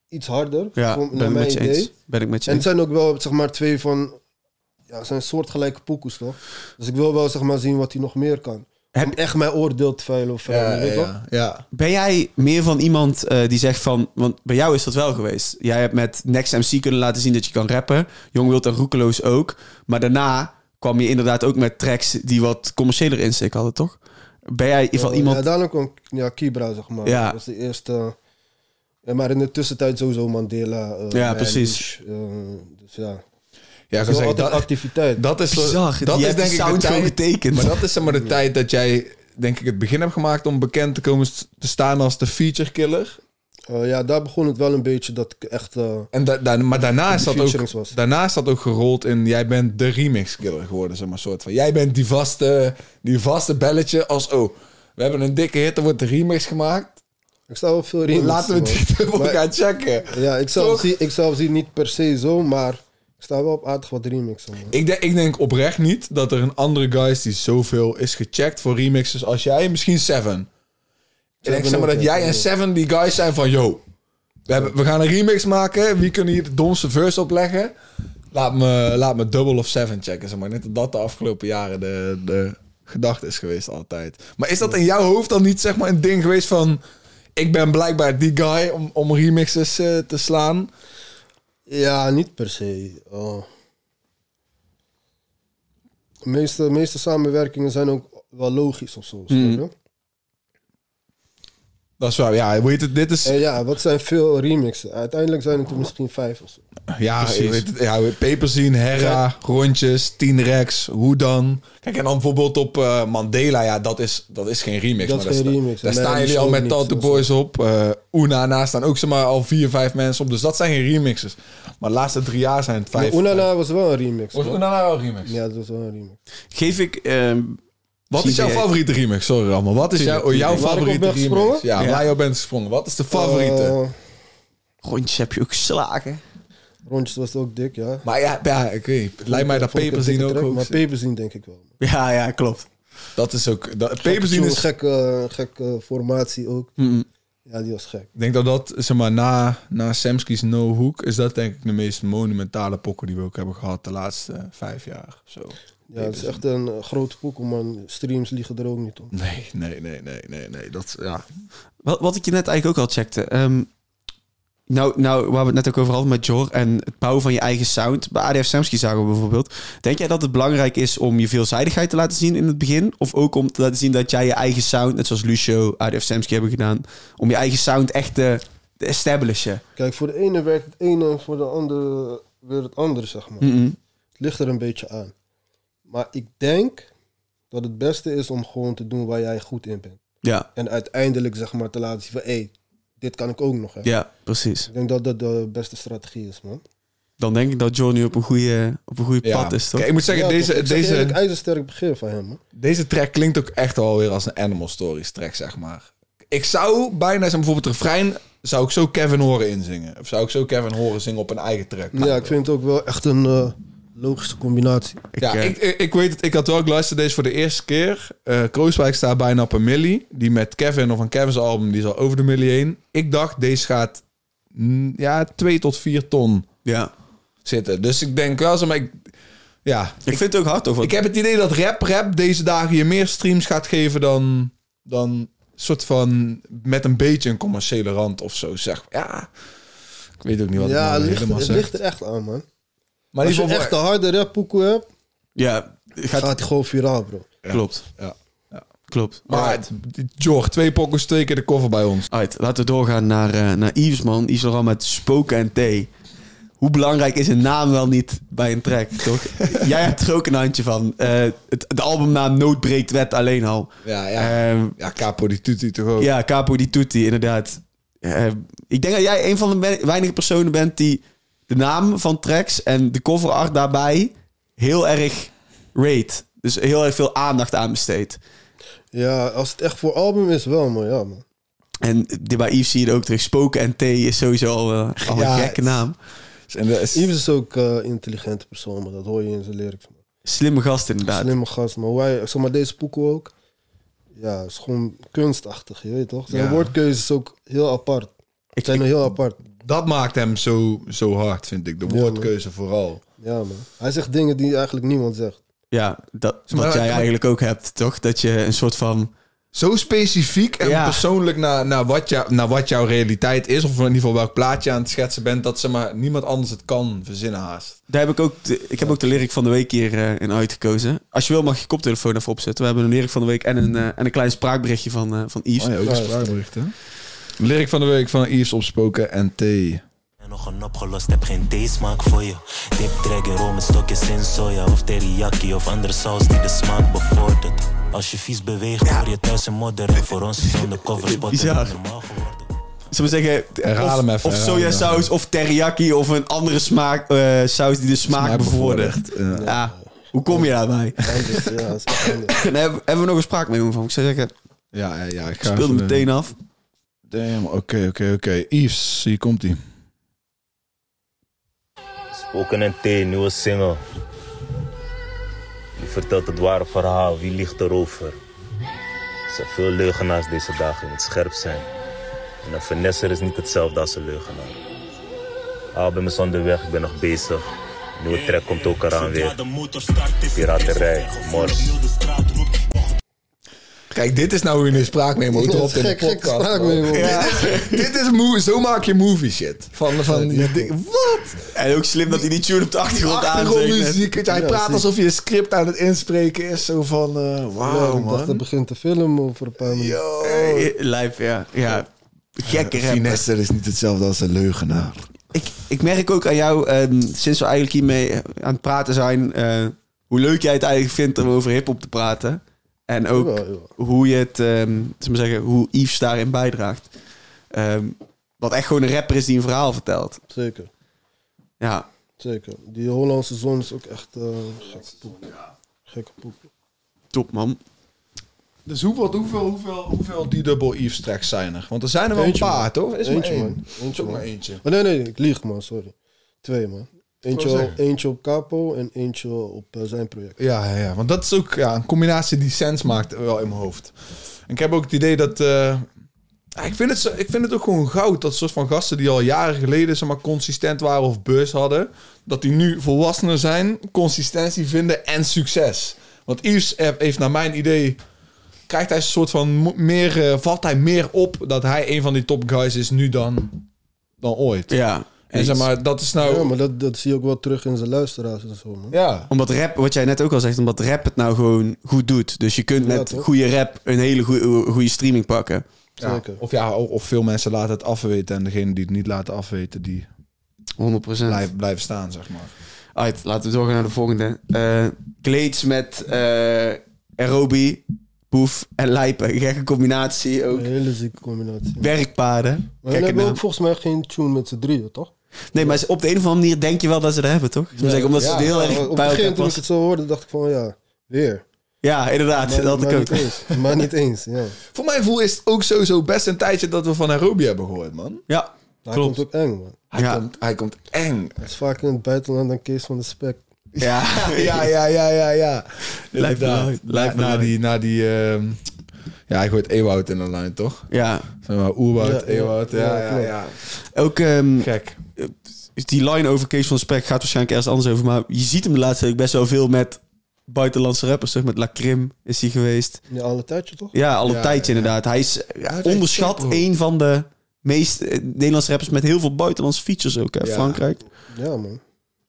B: iets harder,
C: ja,
B: voor-
C: ben
B: naar
C: ik
B: mijn
C: met je
B: idee.
C: eens. Ben ik met je
B: En het
C: eens.
B: zijn ook wel, zeg maar, twee van... Ja, het zijn soortgelijke pokoes, toch? Dus ik wil wel, zeg maar, zien wat hij nog meer kan.
C: Heb-
B: Om echt mijn oordeel te veilen over hem, weet je toch?
A: ja.
C: Ben jij meer van iemand eh, die zegt van... Want bij jou is dat wel geweest. Jij hebt met Next MC kunnen laten zien dat je kan rappen. Jong Wild en Roekeloos ook. Maar daarna kwam je inderdaad ook met tracks die wat commerciëler insteek hadden, toch? Ben jij van
B: Ja, Ja,
C: iemand...
B: daarna kwam ja, Kibra, zeg maar.
C: Ja.
B: Dat was de eerste... eh, Ja, maar in de tussentijd sowieso Mandela. eh,
C: Ja,
B: Man,
C: precies.
B: Dus, eh, dus ja.
A: Ja, ik
B: Dat
A: kan
B: is
A: zeggen,
B: altijd
A: dat,
B: activiteit.
A: dat is,
C: Bizar. Die
A: dat is
C: hebt die
A: denk ik de
C: sound gewoon
A: tijd,
C: getekend.
A: Maar dat is zeg maar de tijd dat jij, denk ik, het begin hebt gemaakt om bekend te komen s- te staan als de feature killer.
B: Eh, ja, daar begon het wel een beetje dat ik echt... eh,
A: En da- da- maar daarna is,
B: Die
A: dat ook,
B: featurings was.
A: daarna is dat ook gerold in... Jij bent de remix killer geworden, zeg maar. Soort van. Jij bent die vaste, die vaste belletje als... Oh, we hebben een dikke hit, er wordt de remix gemaakt.
B: ik sta wel veel remixen,
A: Laten we
B: man.
A: die dubbel
B: Maar-
A: gaan checken.
B: Ja, ik
A: Toch?
B: zelf, zie, ik zelf zie niet per se zo, maar ik sta wel op aardig wat remixen. Man.
A: Ik, denk- ik denk oprecht niet dat er een andere guy is die zoveel is gecheckt voor remixes als jij. Misschien Seven. Ik denk
B: Seven
A: zeg maar
B: ook,
A: dat
B: ja,
A: jij en
B: ja.
A: Seven die guys zijn van... Yo, we, hebben, we gaan een remix maken. Wie kunnen hier de domste verse opleggen? Laat me, laat me Double of Seven checken. Zeg maar. Net dat dat de afgelopen jaren de, de gedachte is geweest altijd. Maar is dat in jouw hoofd dan niet zeg maar, een ding geweest van... Ik ben blijkbaar die guy om, om remixes eh, te slaan.
B: Ja, niet per se. eh. De meeste, meeste samenwerkingen zijn ook wel logisch of zo. snap
A: Mm.
B: je?
A: Dat is waar. Ja, weet het, dit is...
B: En ja, wat zijn veel remixen? Uiteindelijk zijn het er misschien vijf of zo.
A: Ja,
C: Precies.
A: je weet het, ja Peperzien, Herra, Rondjes, 10 Rex, Hoe dan? Kijk, en dan bijvoorbeeld op eh, Mandela, ja, dat is, dat is geen remix.
B: Dat
A: maar
B: is geen
A: sta-
B: remix.
A: Daar
B: Nee,
A: staan
B: dat
A: jullie
B: is
A: al
B: ook
A: met
B: niet,
A: Tante
B: dat is
A: Boys op. eh Una, na staan ook zeg maar al vier, vijf mensen op. Dus dat zijn geen remixes. Maar de laatste drie jaar zijn het vijf.
B: Maar Unana was wel een remix.
A: Was
B: man.
A: Una wel een remix?
B: Ja, dat was wel een remix.
C: Geef ik... ehm,
A: Wat is jouw
C: CBA?
A: favoriete remix? Sorry, allemaal. Wat is
C: Tuurlijk,
A: jouw, jouw
B: Waar ik op
A: favoriete
B: ben
A: remix?
B: gesprongen?
A: Ja,
C: Ja.
A: waar je op bent gesprongen. Wat is de favoriete?
B: Eh,
C: Rondjes heb je ook geslagen.
B: Rondjes was ook dik, ja.
A: maar ja, ja, ik weet niet. Het lijkt mij dat
B: Vond ik een
A: Peperzien
B: dikke
A: ook
B: track,
A: hoog
B: Maar
A: zit.
B: Peperzien denk ik wel.
C: Ja, ja, klopt.
A: Dat is ook... Dat, Peperzien
B: Zo'n
A: is
B: gekke, gekke formatie ook.
C: Mm.
B: Ja, die was gek.
A: Ik denk dat dat, zeg maar, na, na Samski's No Hook... is dat denk ik de meest monumentale pokken die we ook hebben gehad de laatste vijf jaar. Zo.
B: Ja, het is echt een eh, grote poekel, man. Streams liegen er ook niet om.
A: Nee, nee, nee, nee, nee, nee. Dat, ja.
C: Wat, wat ik je net eigenlijk ook al checkte. ehm, nou, nou, waar we het net ook over hadden met Jor en het bouwen van je eigen sound. Bij ADF Samsky zagen we bijvoorbeeld. Denk jij dat het belangrijk is om je veelzijdigheid te laten zien in het begin? Of ook om te laten zien dat jij je eigen sound, net zoals Lucio, ADF Samsky hebben gedaan, om je eigen sound echt te, te establishen?
B: Kijk, voor de ene werkt het ene en voor de andere weer het andere, zeg maar.
C: Mhm.
B: Het ligt er een beetje aan. Maar ik denk dat het beste is om gewoon te doen waar jij goed in bent.
C: Ja,
B: En uiteindelijk, zeg maar, te laten zien van... Hé, hey, dit kan ik ook nog, hè.
C: ja, precies.
B: Ik denk dat dat de beste strategie is, man.
C: Dan denk ik dat Jor nu op een goede, op een goede
A: ja.
C: pad is, toch?
A: Kijk, ik moet zeggen,
B: Ja, toch?
A: deze,
B: Ik zeg je eerlijk,
A: deze,
B: ijzersterk begin van hem, man.
A: deze track klinkt ook echt alweer als een Animal Stories track, zeg maar. Ik zou bijna, zeg maar, bijvoorbeeld het refrein... zou ik zo Kevin horen inzingen. Of zou ik zo Kevin horen zingen op een eigen track.
B: Ja, ik vind het ook wel echt een eh, logische combinatie.
A: ja,
C: eh,
A: ik, ik, ik weet het. Ik had wel geluisterd deze voor de eerste keer. Eh Krooswijk staat bijna op een millie. Die met Kevin of een Kevin's album, die is al over de millie heen. Ik dacht, deze gaat mm, ja, 2 tot 4 ton
C: ja.
A: zitten. Dus ik denk wel zo, maar ik, ja.
C: ik vind het ook hard, toch?
A: Ik heb het idee dat rap rap deze dagen je meer streams gaat geven dan, dan soort van met een beetje een commerciële rand of zo. Zeg. Ja, ik weet ook niet wat ik
B: ja,
A: nou
B: het ligt,
A: helemaal
B: het
A: zeg.
B: ligt er echt aan, man.
A: Maar in
B: Als je
A: ieder geval,
B: echt de harde rap poekoe hebt,
C: Ja, gaat,
B: gaat hij gewoon viraal, bro.
C: klopt.
A: Ja. Ja.
C: Klopt.
A: maar
C: Alright.
A: Jorg, twee pokkers, twee keer de koffer bij ons.
C: Alright, laten we doorgaan naar, eh naar Yves, man. Yves Laurent met Spoken en Thee. Hoe belangrijk is een naam wel niet bij een track, toch? Jij hebt er ook een handje van. Eh, het, de albumnaam Nood breekt wet alleen al.
A: Ja,
C: Ehm,
A: Ja, Capo di Tutti toch ook.
C: ja, Capo di Tutti, inderdaad. Eh, ik denk dat jij een van de we- weinige personen bent die de naam van tracks en de coverart daarbij heel erg rate. Dus heel erg veel aandacht aan besteedt.
B: Ja, als het echt voor album is, wel, man. Ja, man.
C: En die- bij Yves zie je het ook terug. Spoken en Thee is sowieso al, eh, al een
A: Ja,
C: gekke naam.
A: En dat is-
B: Yves is ook eh, een intelligente persoon, maar dat hoor je in zijn lyrics. Man.
C: Slimme gast, inderdaad.
B: Slimme gast, maar, hoe hij, zeg maar deze poeko ook. Ja, is gewoon kunstachtig, je weet toch? Zijn
A: Ja.
B: woordkeuze is ook heel apart.
C: Ik-
B: zijn heel apart.
A: dat maakt hem zo, zo hard, vind ik. De
B: Ja,
A: woordkeuze vooral.
B: Ja, man. Hij zegt dingen die eigenlijk niemand zegt.
C: Ja, dat,
A: Zeg maar,
C: wat jij
A: maar-
C: eigenlijk ook hebt, toch? Dat je een soort van...
A: Zo specifiek en
C: Ja.
A: persoonlijk naar, naar, wat jou, naar wat jouw realiteit is. Of in ieder geval welk plaatje je aan het schetsen bent. Dat ze maar niemand anders het kan verzinnen haast.
C: Daar heb ik ook... de- ik heb ook de lyric van de week hier eh, in uitgekozen. Als je wil mag je koptelefoon even opzetten. We hebben een lyric van de week en een, eh, en een klein spraakberichtje van, eh, van Yves.
A: Oh ook Lyric van de week van Yves opspoken en T.
E: En nog een opgelost, heb geen theesmaak voor je. Dip dragon roll met stokjes in soja of teriyaki of andere saus die de smaak bevordert. Als je vies beweegt, hoor je thuis een modder en voor ons is zonder covers botten
C: Bizar.
E: normaal geworden.
C: zullen we zeggen, eh,
A: Herhaal hem
C: of,
A: even,
C: of
A: herhaal hem
C: sojasaus of teriyaki of een andere smaak, eh, saus die de smaak,
A: Smaak bevordert,
C: bevordert. Ja. Hoe kom je daarbij?
B: Anders, ja, dat is anders.
C: Daar hebben hebben we nog een spraak mee van. Ik zou zeggen,
A: Ja, ja, ja. Ik
C: ik speelde
A: even-
C: meteen af.
A: Damn, oké, oké, oké. Yves, hier komt hij.
E: Spoken en thee, nieuwe single. Wie vertelt het ware verhaal? Wie liegt erover? Er zijn veel leugenaars deze dagen, je moet scherp zijn. En een vernesser is niet hetzelfde als een leugenaar. Album is onderweg, ik ben nog bezig. Nieuwe track komt ook eraan weer. Piraterij, mors.
A: Kijk, dit is nou hoe je een spraakmemo
B: Ja,
A: dropt in de
B: gek, gek
A: podcast.
B: spraakmemo.
A: bro. Dit is- dit is moe, zo maak je movie shit. Van, van je denkt, wat?
C: En ook slim dat hij die tune op de achtergrond aanzet.
A: Achtergrondmuziek. weet je, Hij
B: Ja,
A: praat
B: zie.
A: alsof je een script aan het inspreken is. Zo van, eh
B: Ja,
A: wauw
B: ik dacht, dat
A: man.
B: begint te filmen over een paar minuten.
A: Yo.
C: Eh, Live, ja. ja. Gekke rapper.
A: Oh. Finesse is niet hetzelfde als een leugenaar.
C: Ik, ik merk ook aan jou, ehm, sinds we eigenlijk hiermee aan het praten zijn, eh, hoe leuk jij het eigenlijk vindt om over hip-hop te praten. En ook
B: Jawel, jawel.
C: hoe je het, ehm zullen we zeggen, hoe Yves daarin bijdraagt. Ehm, wat echt gewoon een rapper is die een verhaal vertelt.
B: Zeker,
C: Ja,
B: zeker. Die Hollandse zon is ook echt eh gekke poep. Gekke poep.
C: top man.
A: Dus hoe, wat, hoeveel, hoeveel, hoeveel die double Yves tracks zijn er? Want er zijn er wel
B: Eentje,
A: een
B: man.
A: paar, toch? Is
B: Eentje,
A: maar één.
B: man. Eentje,
A: is ook
B: man.
A: maar eentje.
B: Oh, nee, nee, ik lieg man, sorry. Twee man.
A: Wou
B: Eentje,
A: zeggen.
B: eentje op Capo en eentje op eh, zijn project.
A: Ja, ja, ja, want dat is ook ja, een combinatie die sens maakt wel in mijn hoofd. En ik heb ook het idee dat... eh, ja, ik, vind het, zo- ik vind het ook gewoon goud dat soort van gasten die al jaren geleden zeg maar, consistent waren of beurs hadden... dat die nu volwassener zijn, consistentie vinden en succes. Want Yves heb- heeft naar mijn idee... krijgt hij een soort van mo- meer... eh, valt hij meer op dat hij een van die top guys is nu dan, dan ooit.
C: Ja.
A: En zeg maar, dat is nou...
C: Oh.
B: Ja, maar dat, dat zie je ook wel terug in zijn luisteraars en zo, man.
A: Ja.
C: Omdat rap, wat jij net ook al zegt, omdat rap het nou gewoon goed doet. Dus je kunt
B: Ja,
C: met
B: toch?
C: goede rap een hele goede, goede streaming pakken.
A: Ja,
B: Zeker.
A: Of ja, o- of veel mensen laten het afweten en degene die het niet laten afweten, die
C: 100%.
A: blijf, blijven staan, zeg maar.
C: Alright, laten we doorgaan naar de volgende. Eh Glades met eh Aerobie, Boef en Lijpen. Gekke combinatie ook.
B: Een hele zieke combinatie. Maar
C: Werkpaden.
B: we
C: Gekke
B: hebben
C: naam.
B: ook volgens mij geen tune met z'n drieën, toch?
C: Nee, maar op de een of andere manier denk je wel dat ze dat hebben, toch? Zullen we zeggen, omdat ze
B: Ja,
C: het heel
B: ja,
C: erg
B: Op
C: bij
B: het
C: elkaar
B: begin toen ik
C: passen.
B: het zo hoorde, dacht ik van ja, weer.
C: Ja, inderdaad.
B: Maar,
C: dat had
B: maar
C: ik ook.
B: niet eens. Maar niet eens, ja.
A: Voor mijn gevoel is het ook sowieso best een tijdje dat we van Nairobi hebben gehoord, man.
C: Ja,
B: Hij
C: klopt.
B: komt ook eng, man.
A: Hij,
C: Ja.
A: komt, hij komt eng.
B: Hij is vaak in het buitenland dan Kees van de Spek.
C: Ja,
A: Ja, ja, ja, ja, ja. Inderdaad.
C: Lijf
A: Na, na die, na die ehm, ja, hij gooit Ewoud in de lijn, toch?
C: ja.
A: Zeg maar, Oerwoud,
B: Ja,
A: Ewoud, ja,
B: ja,
A: ja, ja,
B: klopt.
C: Ook ehm,
A: Gek.
C: die line over Kees van Spek gaat waarschijnlijk ergens anders over. Maar je ziet hem de laatste tijd ook best wel veel met buitenlandse rappers. Toch? Met La Crim is hij geweest.
B: Ja, alle tijdje toch?
C: Ja, al een
A: Ja,
C: tijdje
A: ja.
C: inderdaad. Hij is
A: hij heeft
C: onderschat
A: echt tempo.
C: een van de meest eh, Nederlandse rappers met heel veel buitenlandse features ook. Hè?
A: Ja.
C: Frankrijk.
B: Ja, man.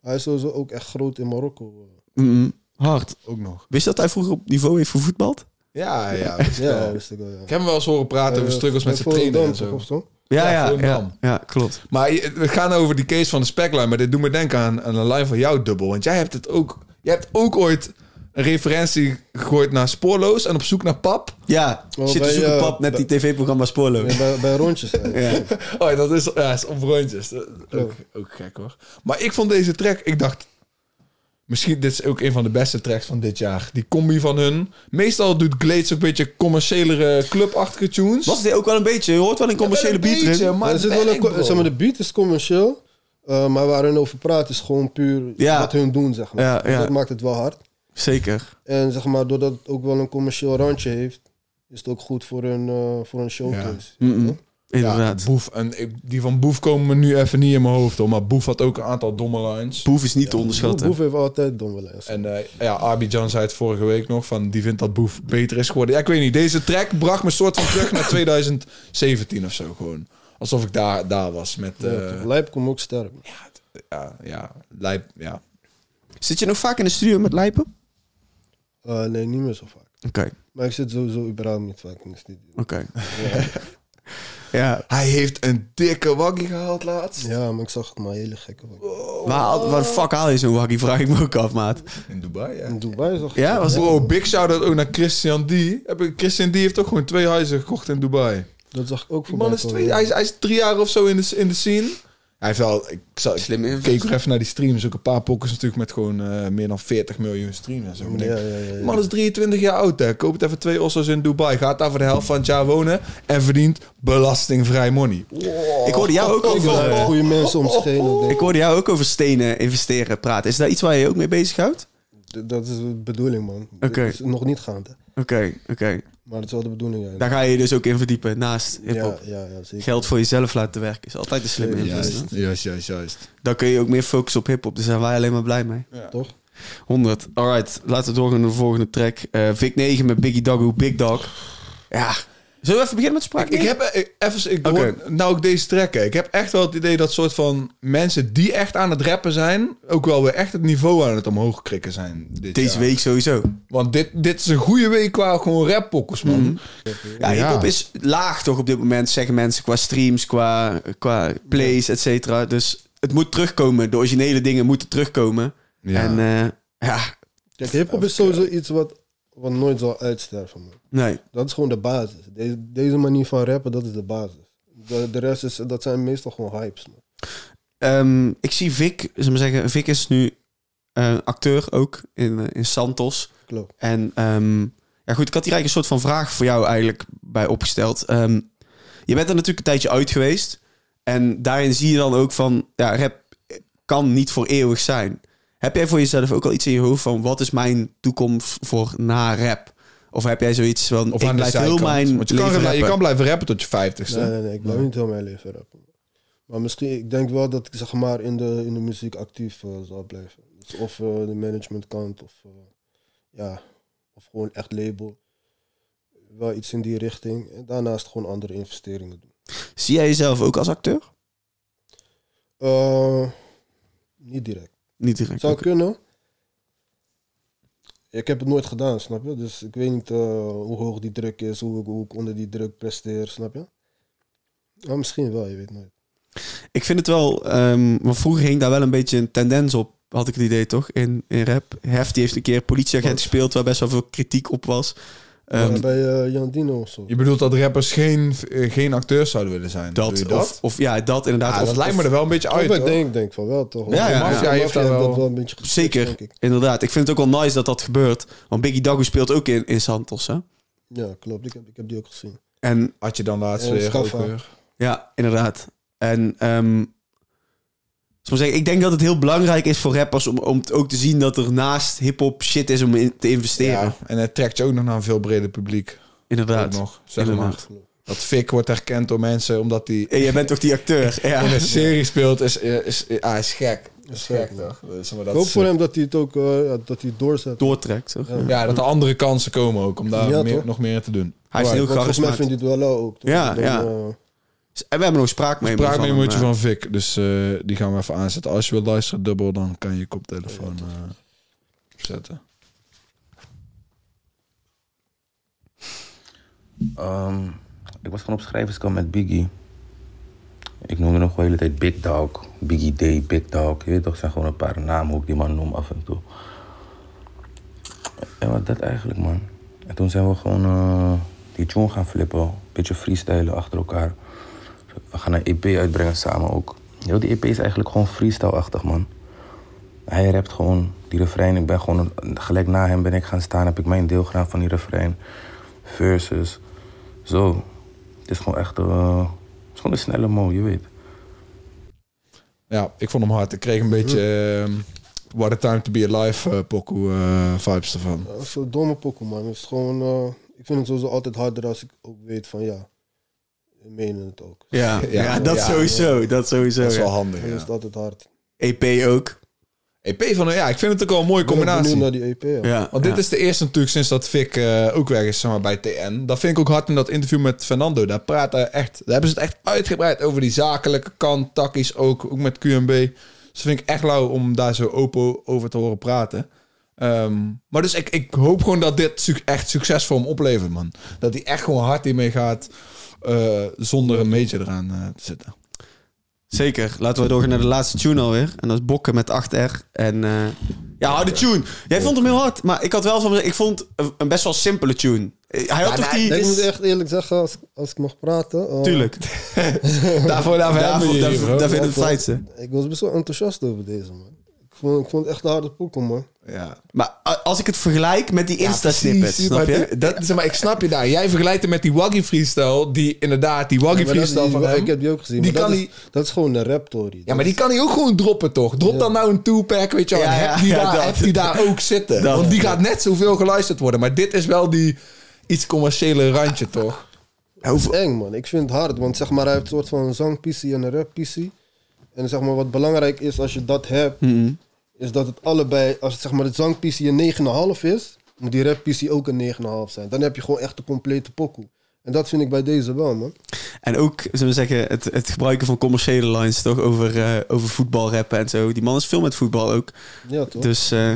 B: Hij is sowieso ook echt groot in Marokko.
C: Mm, hard.
A: Ook nog.
C: Wist je dat hij vroeger op niveau heeft gevoetbald?
A: Ja, ja.
B: Ja, wist ik wel, ja.
A: Ik heb hem wel eens horen praten over struggles met
B: Eh,
A: zijn trainen en
B: Volendam toch
A: zo.
B: of zo.
C: Ja, ja, ja,
A: Volendam.
C: ja, klopt.
A: Maar je- we gaan over die case van de speklijn. Maar dit doet me denken aan, aan een lijn van jou dubbel. Want jij hebt het ook. Jij hebt ook ooit een referentie gegooid naar spoorloos en op zoek naar pap.
C: Ja,
B: Oh,
C: zit te
B: bij,
C: zoeken
B: eh,
C: pap net
B: bij-
C: die tv-programma Spoorloos.
B: Nee, bij, bij rondjes. eigenlijk.
C: Ja.
A: Oh, ja, dat is, ja, is op rondjes. Dat- Ook, ook gek hoor. Maar ik vond deze track. Ik dacht. Misschien dit is ook een van de beste tracks van dit jaar. Die combi van hun. Meestal doet Glades ook een beetje commerciëlere clubachtige tunes.
C: Was dit ook wel een beetje? Je hoort wel een commerciële
A: Wel een
C: beat
A: beetje,
C: erin.
A: Maar
B: Maar er zit wel een,
A: werk, bro.
B: co- zeg maar, de beat is commercieel, eh, maar waar hun over praat is gewoon puur
C: Ja.
B: wat hun doen, zeg maar. Dus
C: Ja, ja.
B: Dat maakt het wel hard.
C: Zeker.
B: En zeg maar, doordat het ook wel een commercieel randje heeft, is het ook goed voor een, eh, voor een showcase.
C: Mm-mm.
A: Ja,
C: Inderdaad.
A: Boef. En ik- die van Boef komen me nu even niet in mijn hoofd. Hoor, maar Boef had ook een aantal domme lines.
C: Boef is niet te
B: Boef,
C: onderschatten.
B: Boef heeft altijd domme lijst.
A: En eh, ja, Abidjan zei het vorige week nog van die vindt dat Boef beter is geworden. Ja, ik weet niet. Deze track bracht me soort van terug naar 2017 of zo gewoon. Alsof ik daar, daar was met... eh,
B: Ja, Lijp komt ook sterk.
A: ja, ja, lijp, ja.
C: Zit je nog vaak in de studio met Lijpen? Oké,
B: Eh, nee, niet meer zo vaak.
C: oké.
B: Maar ik zit sowieso überhaupt niet vaak in de studio.
C: ja.
A: Hij heeft een dikke waggie gehaald laatst.
B: Ja, maar ik zag het maar hele gekke.
C: Waar, waar fuck haal je zo'n wakkie? Vraag ik me ook af, maat.
A: In Dubai, ja.
B: In Dubai zag ik
C: Ja, was
A: Bro, big shout-out ook naar Christian D. Heb ik- Christian D heeft ook gewoon twee huizen gekocht in Dubai.
B: Dat zag ik ook
A: Die
B: voorbij
A: man is
B: komen.
A: twee, hij, is, hij is drie jaar of zo in de, in de scene. Hij heeft wel, ik, zal, ik
C: Slim invloed.
A: keek er even naar die streams. Ook een paar pokkers natuurlijk met gewoon eh, meer dan 40 miljoen streams en zo. Maar ik denk,
B: Ja, ja, ja, ja.
A: die man is 23 jaar oud, hè. Koopt even twee ossos in Dubai. Gaat daar voor de helft van het jaar wonen. En verdient belastingvrij money.
C: Ik hoorde jou ook
B: Ik wil
C: over...
B: daar goede mensen om zich heen, denk ik.
C: Ik hoorde jou ook over stenen investeren praten. Is daar iets waar je je ook mee bezighoudt?
B: D- Dat is de bedoeling, man. Dat
C: Oké.
B: is nog niet gaande.
C: Oké, oké.
B: Maar dat is wel de bedoeling, ja.
C: Daar ga je je dus ook in verdiepen naast
B: ja,
C: hip-hop.
B: ja, ja, zeker.
C: Geld voor jezelf laten werken is altijd een slimme
B: Ja,
C: investering.
A: juist, juist, juist.
C: Dan kun je ook meer focussen op hip-hop. Daar zijn wij alleen maar blij mee.
B: Toch?
C: 100. Alright, laten we doorgaan naar de volgende track. Eh Vic 9 met Biggie Doggo, Big Dog. Ja. Zullen we even beginnen met spraak?
A: Ik heb eh, ik- even, ik
C: Oké.
A: hoor nou ook deze trekken. Ik heb echt wel het idee dat soort van mensen die echt aan het rappen zijn, ook wel weer echt het niveau aan het omhoog krikken zijn. Dit
C: Deze
A: jaar.
C: week sowieso.
A: Want dit, dit is een goede week qua gewoon rappokkers, man.
C: Mhm. Ja, hip-hop is laag toch op dit moment, zeggen mensen, qua streams, qua, qua plays, et cetera. Dus het moet terugkomen. De originele dingen moeten terugkomen.
A: Ja.
C: En eh, ja,
B: Kijk, hip-hop is sowieso iets wat, wat nooit zal uitsterven, man.
C: nee.
B: Dat is gewoon de basis. Deze, deze manier van rappen, dat is de basis. De, de rest is, dat zijn meestal gewoon hypes, man.
C: Ehm, ik zie Vic, zal ik maar zeggen, Vic is nu eh, acteur ook in, eh, in Santos.
B: Klopt.
C: En ehm, ja, goed, ik had hier eigenlijk een soort van vraag voor jou eigenlijk bij opgesteld. Ehm, je bent er natuurlijk een tijdje uit geweest. En daarin zie je dan ook van, ja, rap kan niet voor eeuwig zijn. Heb jij voor jezelf ook al iets in je hoofd van, wat is mijn toekomst voor na rap? Of heb jij zoiets van,
A: Of
C: ik
A: aan de
C: blijf heel
A: zijkant.
C: mijn
A: Want je kan,
C: leven
A: rappen- je
C: rappen? Eh.
A: kan blijven rappen tot je vijftigste.
B: Nee, nee, nee, ik blijf niet heel mijn leven rappen. man. Maar misschien, ik denk wel dat ik zeg maar in de, in de muziek actief eh, zal blijven. Dus of eh, de managementkant, of eh, ja, of gewoon echt label. Wel iets in die richting. En daarnaast gewoon andere investeringen doen.
C: Zie jij jezelf ook als acteur?
B: Eh, niet direct.
C: Niet direct.
B: Zou
C: oké.
B: kunnen. Ik heb het nooit gedaan, snap je? Dus ik weet niet eh, hoe hoog die druk is, hoe, ik- hoe ik onder die druk presteer, snap je? Maar misschien wel, je weet nooit.
C: Ik vind het wel, ehm, want vroeger ging daar wel een beetje een tendens op, had ik het idee toch, in, in rap. Hef die heeft een keer politieagent gespeeld waar best wel veel kritiek op was. Ehm,
B: Ja, bij eh, Jan Dino of zo.
A: Je bedoelt dat rappers geen, eh, geen acteurs zouden willen zijn? Doe je
C: dat,
A: dat?
C: Of, of ja, dat inderdaad.
A: ja,
C: of,
A: dat lijkt me
C: of-
A: er wel een beetje uit.
B: Uit, ik
A: hoor.
B: denk, denk van wel toch?
C: Ja, ja, ja.
B: Mafia
A: heeft daar
B: heeft
A: wel-
B: dat wel een beetje geswitcht,
C: Zeker,
B: denk ik.
C: inderdaad. Ik vind het ook wel nice dat dat gebeurt. Want Biggie Doggo speelt ook in, in Santos, hè?
B: Ja, klopt. Ik heb, ik heb die ook gezien.
C: En
A: Had je dan laatst
C: Oh,
B: Eh,
A: weer, ook
B: Scaffa.
A: weer.
C: ja, inderdaad. En ehm, ik zal maar zeggen, ik denk dat het heel belangrijk is voor rappers om, om t- ook te zien dat er naast hip-hop shit is om in te investeren.
A: Ja, en het trekt je ook nog naar een veel breder publiek. Ook
C: inderdaad.
A: nog, zeg
C: Inderdaad.
A: maar. Dat Fik wordt herkend door mensen omdat hij
C: En jij bent toch die acteur? Ja.
A: in een serie speelt. Is, is, is- ah, is gek. Is
B: gek,
A: gek, toch? Dus, maar
B: Ik
A: dat
B: hoop
A: is,
B: voor hem dat hij het ook eh, ja, dat hij het doorzet.
C: Doortrekt, toch?
A: eh, Ja, dat er andere kansen komen ook om daar
B: Ja,
A: meer,
B: toch?
A: nog meer in te doen.
C: Hij is
B: Want
C: heel
B: Volgens mij
C: charismatisch.
B: vindt hij het wel lauw ook. toch?
C: Ja,
B: Ik denk,
C: ja.
B: eh,
C: En we hebben nog spraak mee.
A: Praat mee
C: hem,
A: moet je
C: eh.
A: van Vic, dus eh, die gaan we even aanzetten. Als je wilt luisteren dubbel, dan kan je je koptelefoon eh, zetten.
F: Ehm, ik was gewoon op schrijverskamp met Biggie. Ik noemde hem gewoon de hele tijd Big Dog. Biggie D, Big Dog. Je weet toch, zijn gewoon een paar namen hoe ik die man noem af en toe. En wat dat eigenlijk, man. En toen zijn we gewoon eh, die tune gaan flippen. Een beetje freestylen achter elkaar. We gaan een EP uitbrengen samen ook. Heel die EP is eigenlijk gewoon freestyle-achtig, man. Hij rapt gewoon die refrein. Ik ben gewoon gelijk na hem ben ik gaan staan. Heb ik mijn deel gedaan van die refrein. Versus. Zo. Het is gewoon echt. eh, het is gewoon een snelle mo, je weet.
A: Ja, ik vond hem hard. Ik kreeg een beetje ehm, What a Time to Be Alive eh pokoe eh, vibes ervan.
B: dat is een domme pokoe, man. Het is gewoon, eh, ik vind het sowieso altijd harder als ik ook weet van ja, we menen het ook.
C: Ja, eh, ja,
A: Ja,
C: dat,
A: ja.
C: sowieso, dat sowieso.
A: Dat is
C: ja.
A: wel handig.
B: Dan is
A: Ja.
B: het altijd hard.
C: EP ook.
A: EP van ja, ik vind het ook wel een mooie
B: Ik ben
A: combinatie.
B: ook benieuwd naar die EP. Ja.
C: Ja,
A: Want dit is de eerste natuurlijk sinds dat Vic eh, ook weg is zeg maar, bij TN. Dat vind ik ook hard in dat interview met Fernando. Daar, praat hij echt, daar hebben ze het echt uitgebreid over die zakelijke kant. Takkies ook, ook met QMB. Dus dat vind ik echt lauw om daar zo open over te horen praten. Ehm, maar dus ik, ik hoop gewoon dat dit suc- echt succes voor hem oplevert, man. Dat hij echt gewoon hard hiermee gaat eh, zonder een beetje eraan eh, te zitten.
C: zeker. Laten we doorgaan naar de laatste tune alweer. En dat is Bokken met 8R. En eh, Ja, hou de tune. Jij vond hem heel hard, maar ik had wel van... Ik vond een een best wel simpele tune. Eh, Hij had toch die...
B: Ik moet echt eerlijk zeggen, als, als ik mag praten. eh,
C: Tuurlijk. daarvoor, daarvoor, daarvoor,
A: hebben we je hier,
C: daarvoor,
A: bro.
C: daarvoor in het
B: Ja,
C: feitste.
B: Ik was best wel enthousiast over deze, man. Ik vond, ik vond het echt een harde poeken, man.
A: Ja.
C: Maar a- als ik het vergelijk met die
A: Ja,
C: Insta-snippets,
A: precies,
C: snap
A: maar
C: je?
A: die- Dat, zeg maar, ik snap je daar. Jij vergelijkt hem met die Waggy freestyle, die inderdaad, die Waggy
B: Ja, maar dat-
A: freestyle van
B: die-
A: hem.
B: Ik heb die ook gezien.
A: Die
B: maar
A: kan
B: dat,
A: hij-
B: is, dat is gewoon een rap, Tory.
A: Ja, maar die kan hij ook gewoon droppen, toch? Drop dan nou een two-pack, weet je wel.
C: Ja,
A: en
C: ja,
A: heb die,
C: ja,
A: daar,
C: dat.
A: heb die daar ook zitten.
C: Dat.
A: Want die gaat net zoveel geluisterd worden. Maar dit is wel die iets commerciële randje, toch?
B: Dat is eng, man. Ik vind het hard, want zeg maar, hij heeft een soort van zangpc en een rap-PC. En zeg maar, wat belangrijk is als je dat hebt,
A: Mm-hmm.
B: is dat het allebei, als het, zeg maar, het zangpc een 9,5 is, moet die rap-PC ook een 9,5 zijn. Dan heb je gewoon echt de complete pokoe. En dat vind ik bij deze wel, man.
C: En ook, zullen we zeggen, het, het gebruiken van commerciële lines, toch? Over, eh over voetbal rappen en zo. Die man is veel met voetbal ook.
B: Ja, toch?
C: Dus eh,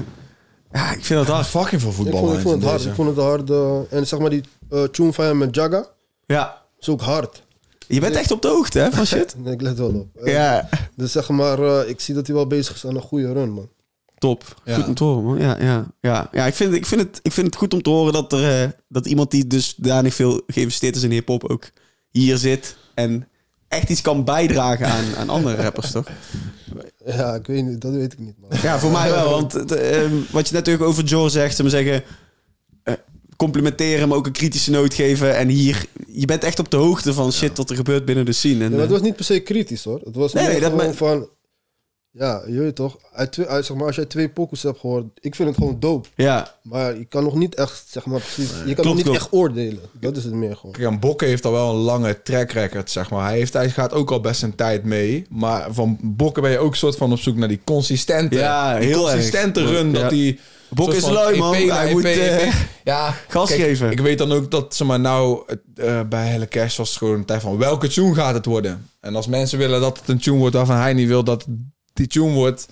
C: ja, ik vind dat hard.
A: Fucking veel
B: ik, vond, ik vond het hard. Ik vond het hard. eh, en zeg maar, die eh, tune van hem met Jaga
C: Ja.
B: is ook hard.
C: Je bent echt op de hoogte, hè, van shit?
B: Nee, ik let wel op. Eh,
C: Ja.
B: Dus zeg maar, eh, ik zie dat hij wel bezig is aan een goede run, man.
C: Top.
A: Ja.
C: Goed om te horen, man. Ja, ja, ja. ja ik, vind, ik, vind het, ik vind het goed om te horen dat, er, eh, dat iemand die dus danig veel geïnvesteerd is in hip-hop ook hier zit en echt iets kan bijdragen aan, aan andere rappers, toch?
B: Ja, ik weet niet, dat weet ik niet, man.
C: Ja, voor mij wel. Want het, ehm, wat je natuurlijk over Joe zegt, zullen we zeggen, eh, complimenteren, maar ook een kritische noot geven. En hier, je bent echt op de hoogte van shit wat er gebeurt binnen de scene. En,
B: Ja, maar het
C: eh,
B: was niet per se kritisch, hoor. Het was
C: Nee,
B: meer
C: nee, dat
B: gewoon
C: me-
B: van... Ja, je weet toch, uit twee, uit, zeg maar, als jij twee pokus hebt gehoord, ik vind het gewoon dope.
C: ja,
B: Maar je kan nog niet echt, zeg maar, precies, je kan
C: klopt,
B: nog niet
C: klopt.
B: echt oordelen. Dat is het meer gewoon.
A: Kijk, en Bokke heeft al wel een lange track record, zeg maar. Hij, heeft, hij gaat ook al best een tijd mee. Maar van Bokke ben je ook soort van op zoek naar die consistente,
C: Ja,
A: die
C: heel
A: consistente
C: erg.
A: run.
C: Ja.
A: Dat die
C: Bokke
A: soort
C: is
A: van E
C: lui, man.
A: EP na
C: Hij
A: EP,
C: moet, eh,
A: ja,
C: gas
A: kijk,
C: geven.
A: Ik weet dan ook dat, zeg maar, nou eh, eh, bij Helle Cash was het gewoon een tijd van welke tune gaat het worden? En als mensen willen dat het een tune wordt waarvan hij niet wil dat het die tune wordt...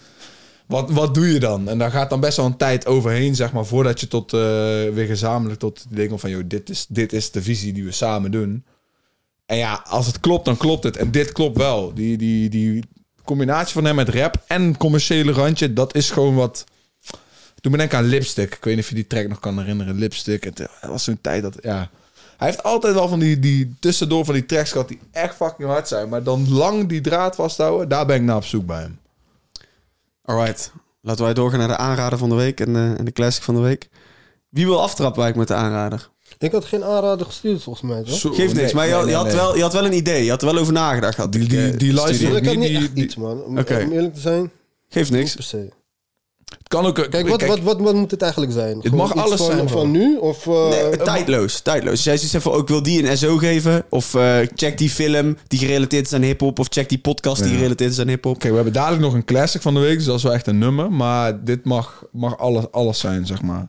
A: Wat, wat doe je dan? En daar gaat dan best wel een tijd overheen, zeg maar, voordat je tot, eh, weer gezamenlijk tot het idee komt van, joh, dit is, dit is de visie die we samen doen. En ja, als het klopt, dan klopt het. En dit klopt wel. Die, die, die combinatie van hem met rap en commerciële randje, dat is gewoon wat... Toen me denken aan Lipstick. Ik weet niet of je die track nog kan herinneren. Lipstick. Het eh, was zo'n tijd dat, ja... Hij heeft altijd wel van die, die tussendoor van die tracks gehad die echt fucking hard zijn. Maar dan lang die draad vasthouden, daar ben ik naar op zoek bij hem.
C: alright. Laten wij doorgaan naar de aanrader van de week en, eh, en de classic van de week. Wie wil aftrappen eigenlijk met de aanrader?
B: Ik had geen aanrader gestuurd, volgens mij. toch?
A: Zo,
C: Geeft niks,
A: nee,
C: maar je,
A: nee,
C: had- je
A: nee,
C: had
A: nee.
C: Wel, je had wel een idee. Je had er wel over nagedacht. Had
A: Die-
C: ik,
A: die-
C: eh,
A: die luister-
C: studie.
B: Dus Ik had
A: die-
B: niet echt
A: die-
B: iets, man. Om,
C: Oké.
B: om eerlijk te zijn,
C: Geeft niks.
B: niet
A: Eh,
B: per se.
A: Het kan ook...
B: Kijk, wat, wat, wat, wat moet het eigenlijk zijn? Gewoon
A: mag
B: iets
A: alles
B: van,
A: zijn,
B: Van
A: man.
B: nu? Of, eh,
C: Nee, tijdloos, tijdloos. Dus jij zoiets hebt van, oh, ik wil die een SO geven. Of eh, check die film die gerelateerd is aan hip-hop. Of check die podcast die
A: Ja.
C: gerelateerd is aan hip-hop.
A: Oké, we hebben dadelijk nog een classic van de week, dus dat is wel echt een nummer. Maar dit mag, mag alles, alles zijn, zeg maar.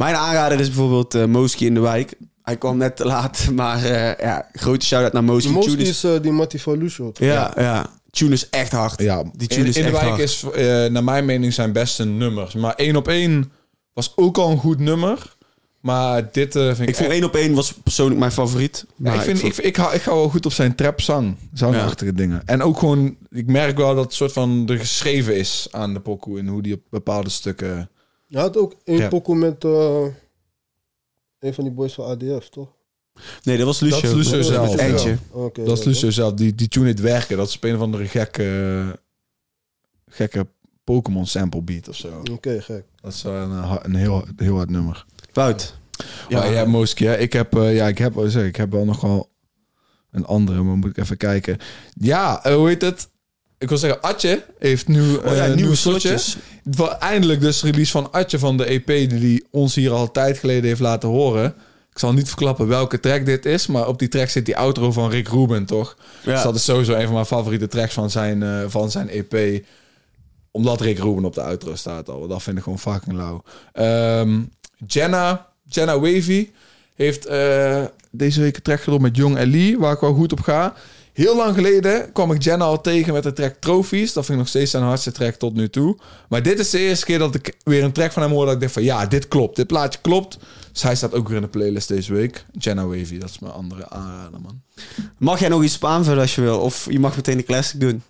C: Mijn aanrader is bijvoorbeeld eh Moski in de wijk. Hij kwam net te laat, maar eh, ja, grote shout-out naar Moski.
B: Mostly
C: Tune is-
B: is eh, die Matty van Lucio.
C: ja, ja. Tune is echt hard.
A: Ja,
C: die tune
A: in,
C: is
A: in de
C: echt
A: wijk
C: hard.
A: is, eh, naar mijn mening, zijn beste nummers. Maar één op één was ook al een goed nummer. Maar dit eh, vind ik...
C: Ik vond
A: echt-
C: één op één was persoonlijk mijn favoriet.
A: ja,
C: Maar
A: ik, vind, ik,
C: vond-
A: ik, hou, ik hou wel goed op zijn trapzang. Zangachtige dingen. En ook gewoon... Ik merk wel dat het soort van er geschreven is aan de pokoe. En hoe die op bepaalde stukken...
B: Je had ook een
A: Ja.
B: pokoe met eh, een van die boys van ADF, toch?
C: Nee, dat was Lucio.
A: Dat is Lucio
C: Met
A: zelf,
C: het
A: ja.
C: Eindje.
B: Oké,
A: Dat is
B: ja,
A: dus zelf. Die, die tune het werken. Dat is op een of andere gekke... Gekke Pokémon sample beat of zo.
B: Oké, gek.
A: Dat is wel een, eh, ha- een heel, heel hard nummer.
C: Wout. Oh,
A: Ja, Oh, ja, Moski. hè. Ik heb, eh, ja, ik heb, zeg, ik heb wel nogal een andere, maar moet ik even kijken. Ja, eh, hoe heet het? Ik wil zeggen, Atje heeft nu
C: Oh ja,
A: eh,
C: nieuwe
A: nieuwe slotjes.
C: slotjes.
A: Wa- Eindelijk dus release van Atje van de EP die ons hier al een tijd geleden heeft laten horen. Ik zal niet verklappen welke track dit is, maar op die track zit die outro van Rick Rubin, toch? Dus dat is sowieso een van mijn favoriete tracks van zijn, eh, van zijn EP. Omdat Rick Rubin op de outro staat al. Dat vind ik gewoon fucking lauw. Ehm, Jenna, Jenna Wavy heeft eh, deze week een track gedaan met Young Ali, waar ik wel goed op ga. Heel lang geleden kwam ik Jenna al tegen met de track Trophies. Dat vind ik nog steeds zijn hardste track tot nu toe. Maar dit is de eerste keer dat ik weer een track van hem hoor dat ik denk van ja, dit klopt. Dit plaatje klopt. Dus hij staat ook weer in de playlist deze week. Jenna Wavy, dat is mijn andere aanrader, man.
C: Mag jij nog iets op aanvullen als je wil? Of je mag meteen de classic doen?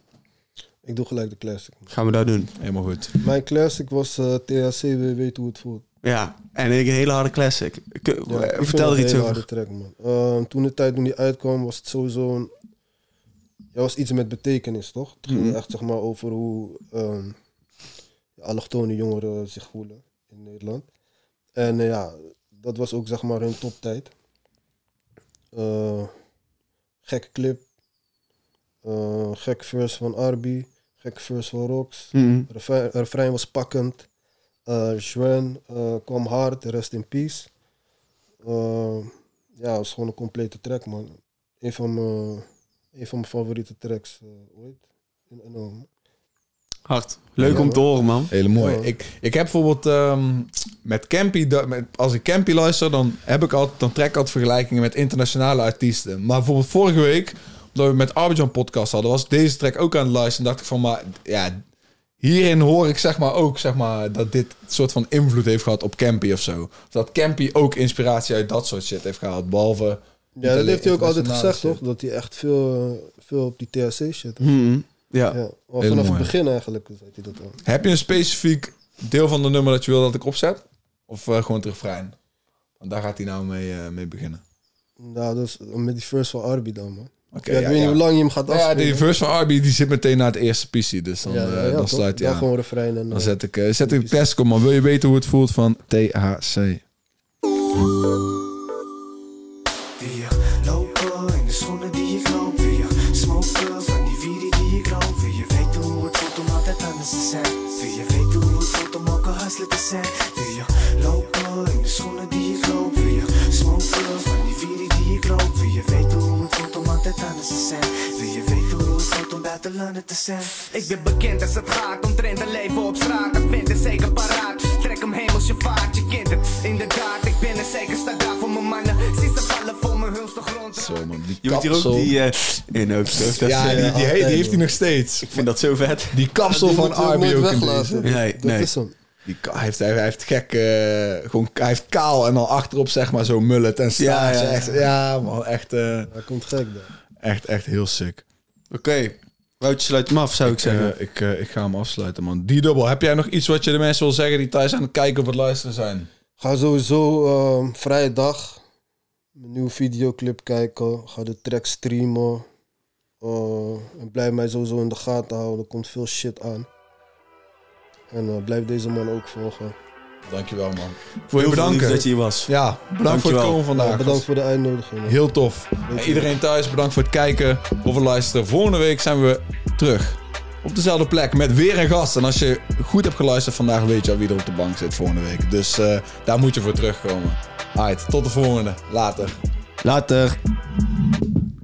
B: Ik doe gelijk de classic.
C: Gaan we dat doen.
A: Helemaal goed.
B: Mijn classic was eh THC, we weten hoe het voelt.
C: Ja, en ik een hele harde classic. K-
B: Ja, ik
C: eh,
B: vind
C: vertel
B: het
C: er iets
B: een hele
C: over.
B: harde track, man. Ehm, toen de tijd toen die uitkwam, was het sowieso een... Ja, was iets met betekenis, toch? Het
C: Mhm.
B: ging echt zeg maar, over hoe ehm allochtone jongeren zich voelen in Nederland. En eh, ja, dat was ook zeg maar hun toptijd. Eh, gekke clip. Eh, gek verse van Arby. Gek verse van Rox.
C: Mhm.
B: Refrein, refrein was pakkend. Eh Juan eh, kwam hard, rest in peace. Eh, ja, het was gewoon een complete track, man. Een van mijn, een van mijn favoriete tracks eh, ooit. In NL, man.
C: Hard. Leuk om te horen, man.
A: Hele mooi.
B: Ja.
A: Ik, ik heb bijvoorbeeld ehm, met Campy, dat- met, als ik Campy luister, dan, heb ik altijd, dan trek ik altijd vergelijkingen met internationale artiesten. Maar bijvoorbeeld vorige week, omdat we met Arbidjan podcast hadden, was ik deze track ook aan het luisteren. dacht ik van, maar ja, hierin hoor ik zeg maar ook zeg maar, dat dit soort van invloed heeft gehad op Campy of zo. Of dat Campy ook inspiratie uit dat soort shit heeft gehaald, behalve... niet
B: Ja, dat
A: alleen
B: heeft hij ook altijd
A: internationale
B: gezegd, toch?
A: shit.
B: Dat hij echt veel, eh, veel op die THC shit.
C: Mhm. Ja.
B: Ja, al
A: Heel
B: vanaf het
A: mooi.
B: begin eigenlijk zei hij dat al.
A: Heb je een specifiek deel van de nummer dat je wil dat ik opzet? Of eh, gewoon het refrein? Want daar gaat hij nou mee, eh, mee beginnen.
B: Nou, dus met die verse van Arby dan, man.
A: Oké,
B: ja, ik weet niet hoe lang je hem gaat
A: Nou ja,
B: afspelen.
A: die verse van Arby die zit meteen na het eerste PC. Dus dan,
B: Ja, ja,
A: eh,
B: ja,
A: dan
B: toch?
A: sluit hij
B: Dan
A: aan.
B: gewoon refrein en...
A: Dan
B: eh,
A: zet ik, eh, zet ik de test op, maar wil je weten hoe het voelt van THC?
G: weer. Lopen in de schoenen die ik loop weer. Smoken van die vieren die ik rook weer. Je weet hoe het voelt om altijd anders te zijn. Weer. Je weet hoe het voelt om ook een hustler te zijn. Weer. Lopen in de schoenen die ik loop weer. Smoken van die vieren die ik rook weer. Je weet hoe het voelt om altijd anders te zijn. Weer. Je weet hoe het voelt om buitenlander te zijn.
H: Ik ben bekend als het gaat omtrent een leven op straat. Dat vindt is zeker paraat. Trek hem hemels je vaart, je kent het. Inderdaad, ik ben er zeker. Sta daar voor mijn mannen. Zie ze vallen voor mijn hulste grond.
A: Zo man, die
C: Je moet hier ook
A: kapsel.
C: die... eh, in ook zo. Dat is,
A: ja, die,
C: eh,
A: die,
B: altijd,
A: die heeft hij
B: joh.
A: nog steeds.
C: ik vind dat zo vet.
A: Die kapsel
B: die
A: van
B: moeten we ook
A: Arby
B: nooit
A: ook in
B: weglaten.
A: deze.
C: Nee,
B: Dat
C: nee.
B: is hem.
A: Die ka- hij, heeft, hij heeft gek, eh, gewoon, hij heeft kaal en dan achterop zeg maar zo'n mullet en staart.
C: Ja,
A: Ja,
C: ja.
A: Echt, ja man, echt, eh,
B: Hij komt gek dan.
A: echt, echt heel sick.
C: Oké. Woutje sluit hem af, zou ik zeggen.
A: Eh, ik, eh, ik ga hem afsluiten man. Die dubbel, heb jij nog iets wat je de mensen wil zeggen die thuis aan het kijken of het luisteren zijn?
B: Ga sowieso ehm, vrijdag mijn nieuwe videoclip kijken. Ga de track streamen. Eh, en blijf mij sowieso in de gaten houden. Er komt veel shit aan. En eh, blijf deze man ook volgen.
A: Dankjewel man.
C: Heel
A: Voor je
C: veel lief
A: bedanken.
C: dat je hier was.
A: Ja, bedankt voor het
C: Dankjewel.
A: komen vandaag.
B: Ja, bedankt voor de uitnodiging. man.
A: Heel tof. En iedereen thuis, bedankt voor het kijken of het luisteren. Volgende week zijn we terug op dezelfde plek met weer een gast. En als je goed hebt geluisterd vandaag, weet je al wie er op de bank zit volgende week. Dus eh, daar moet je voor terugkomen. Alright, tot de volgende. Later.
C: Later.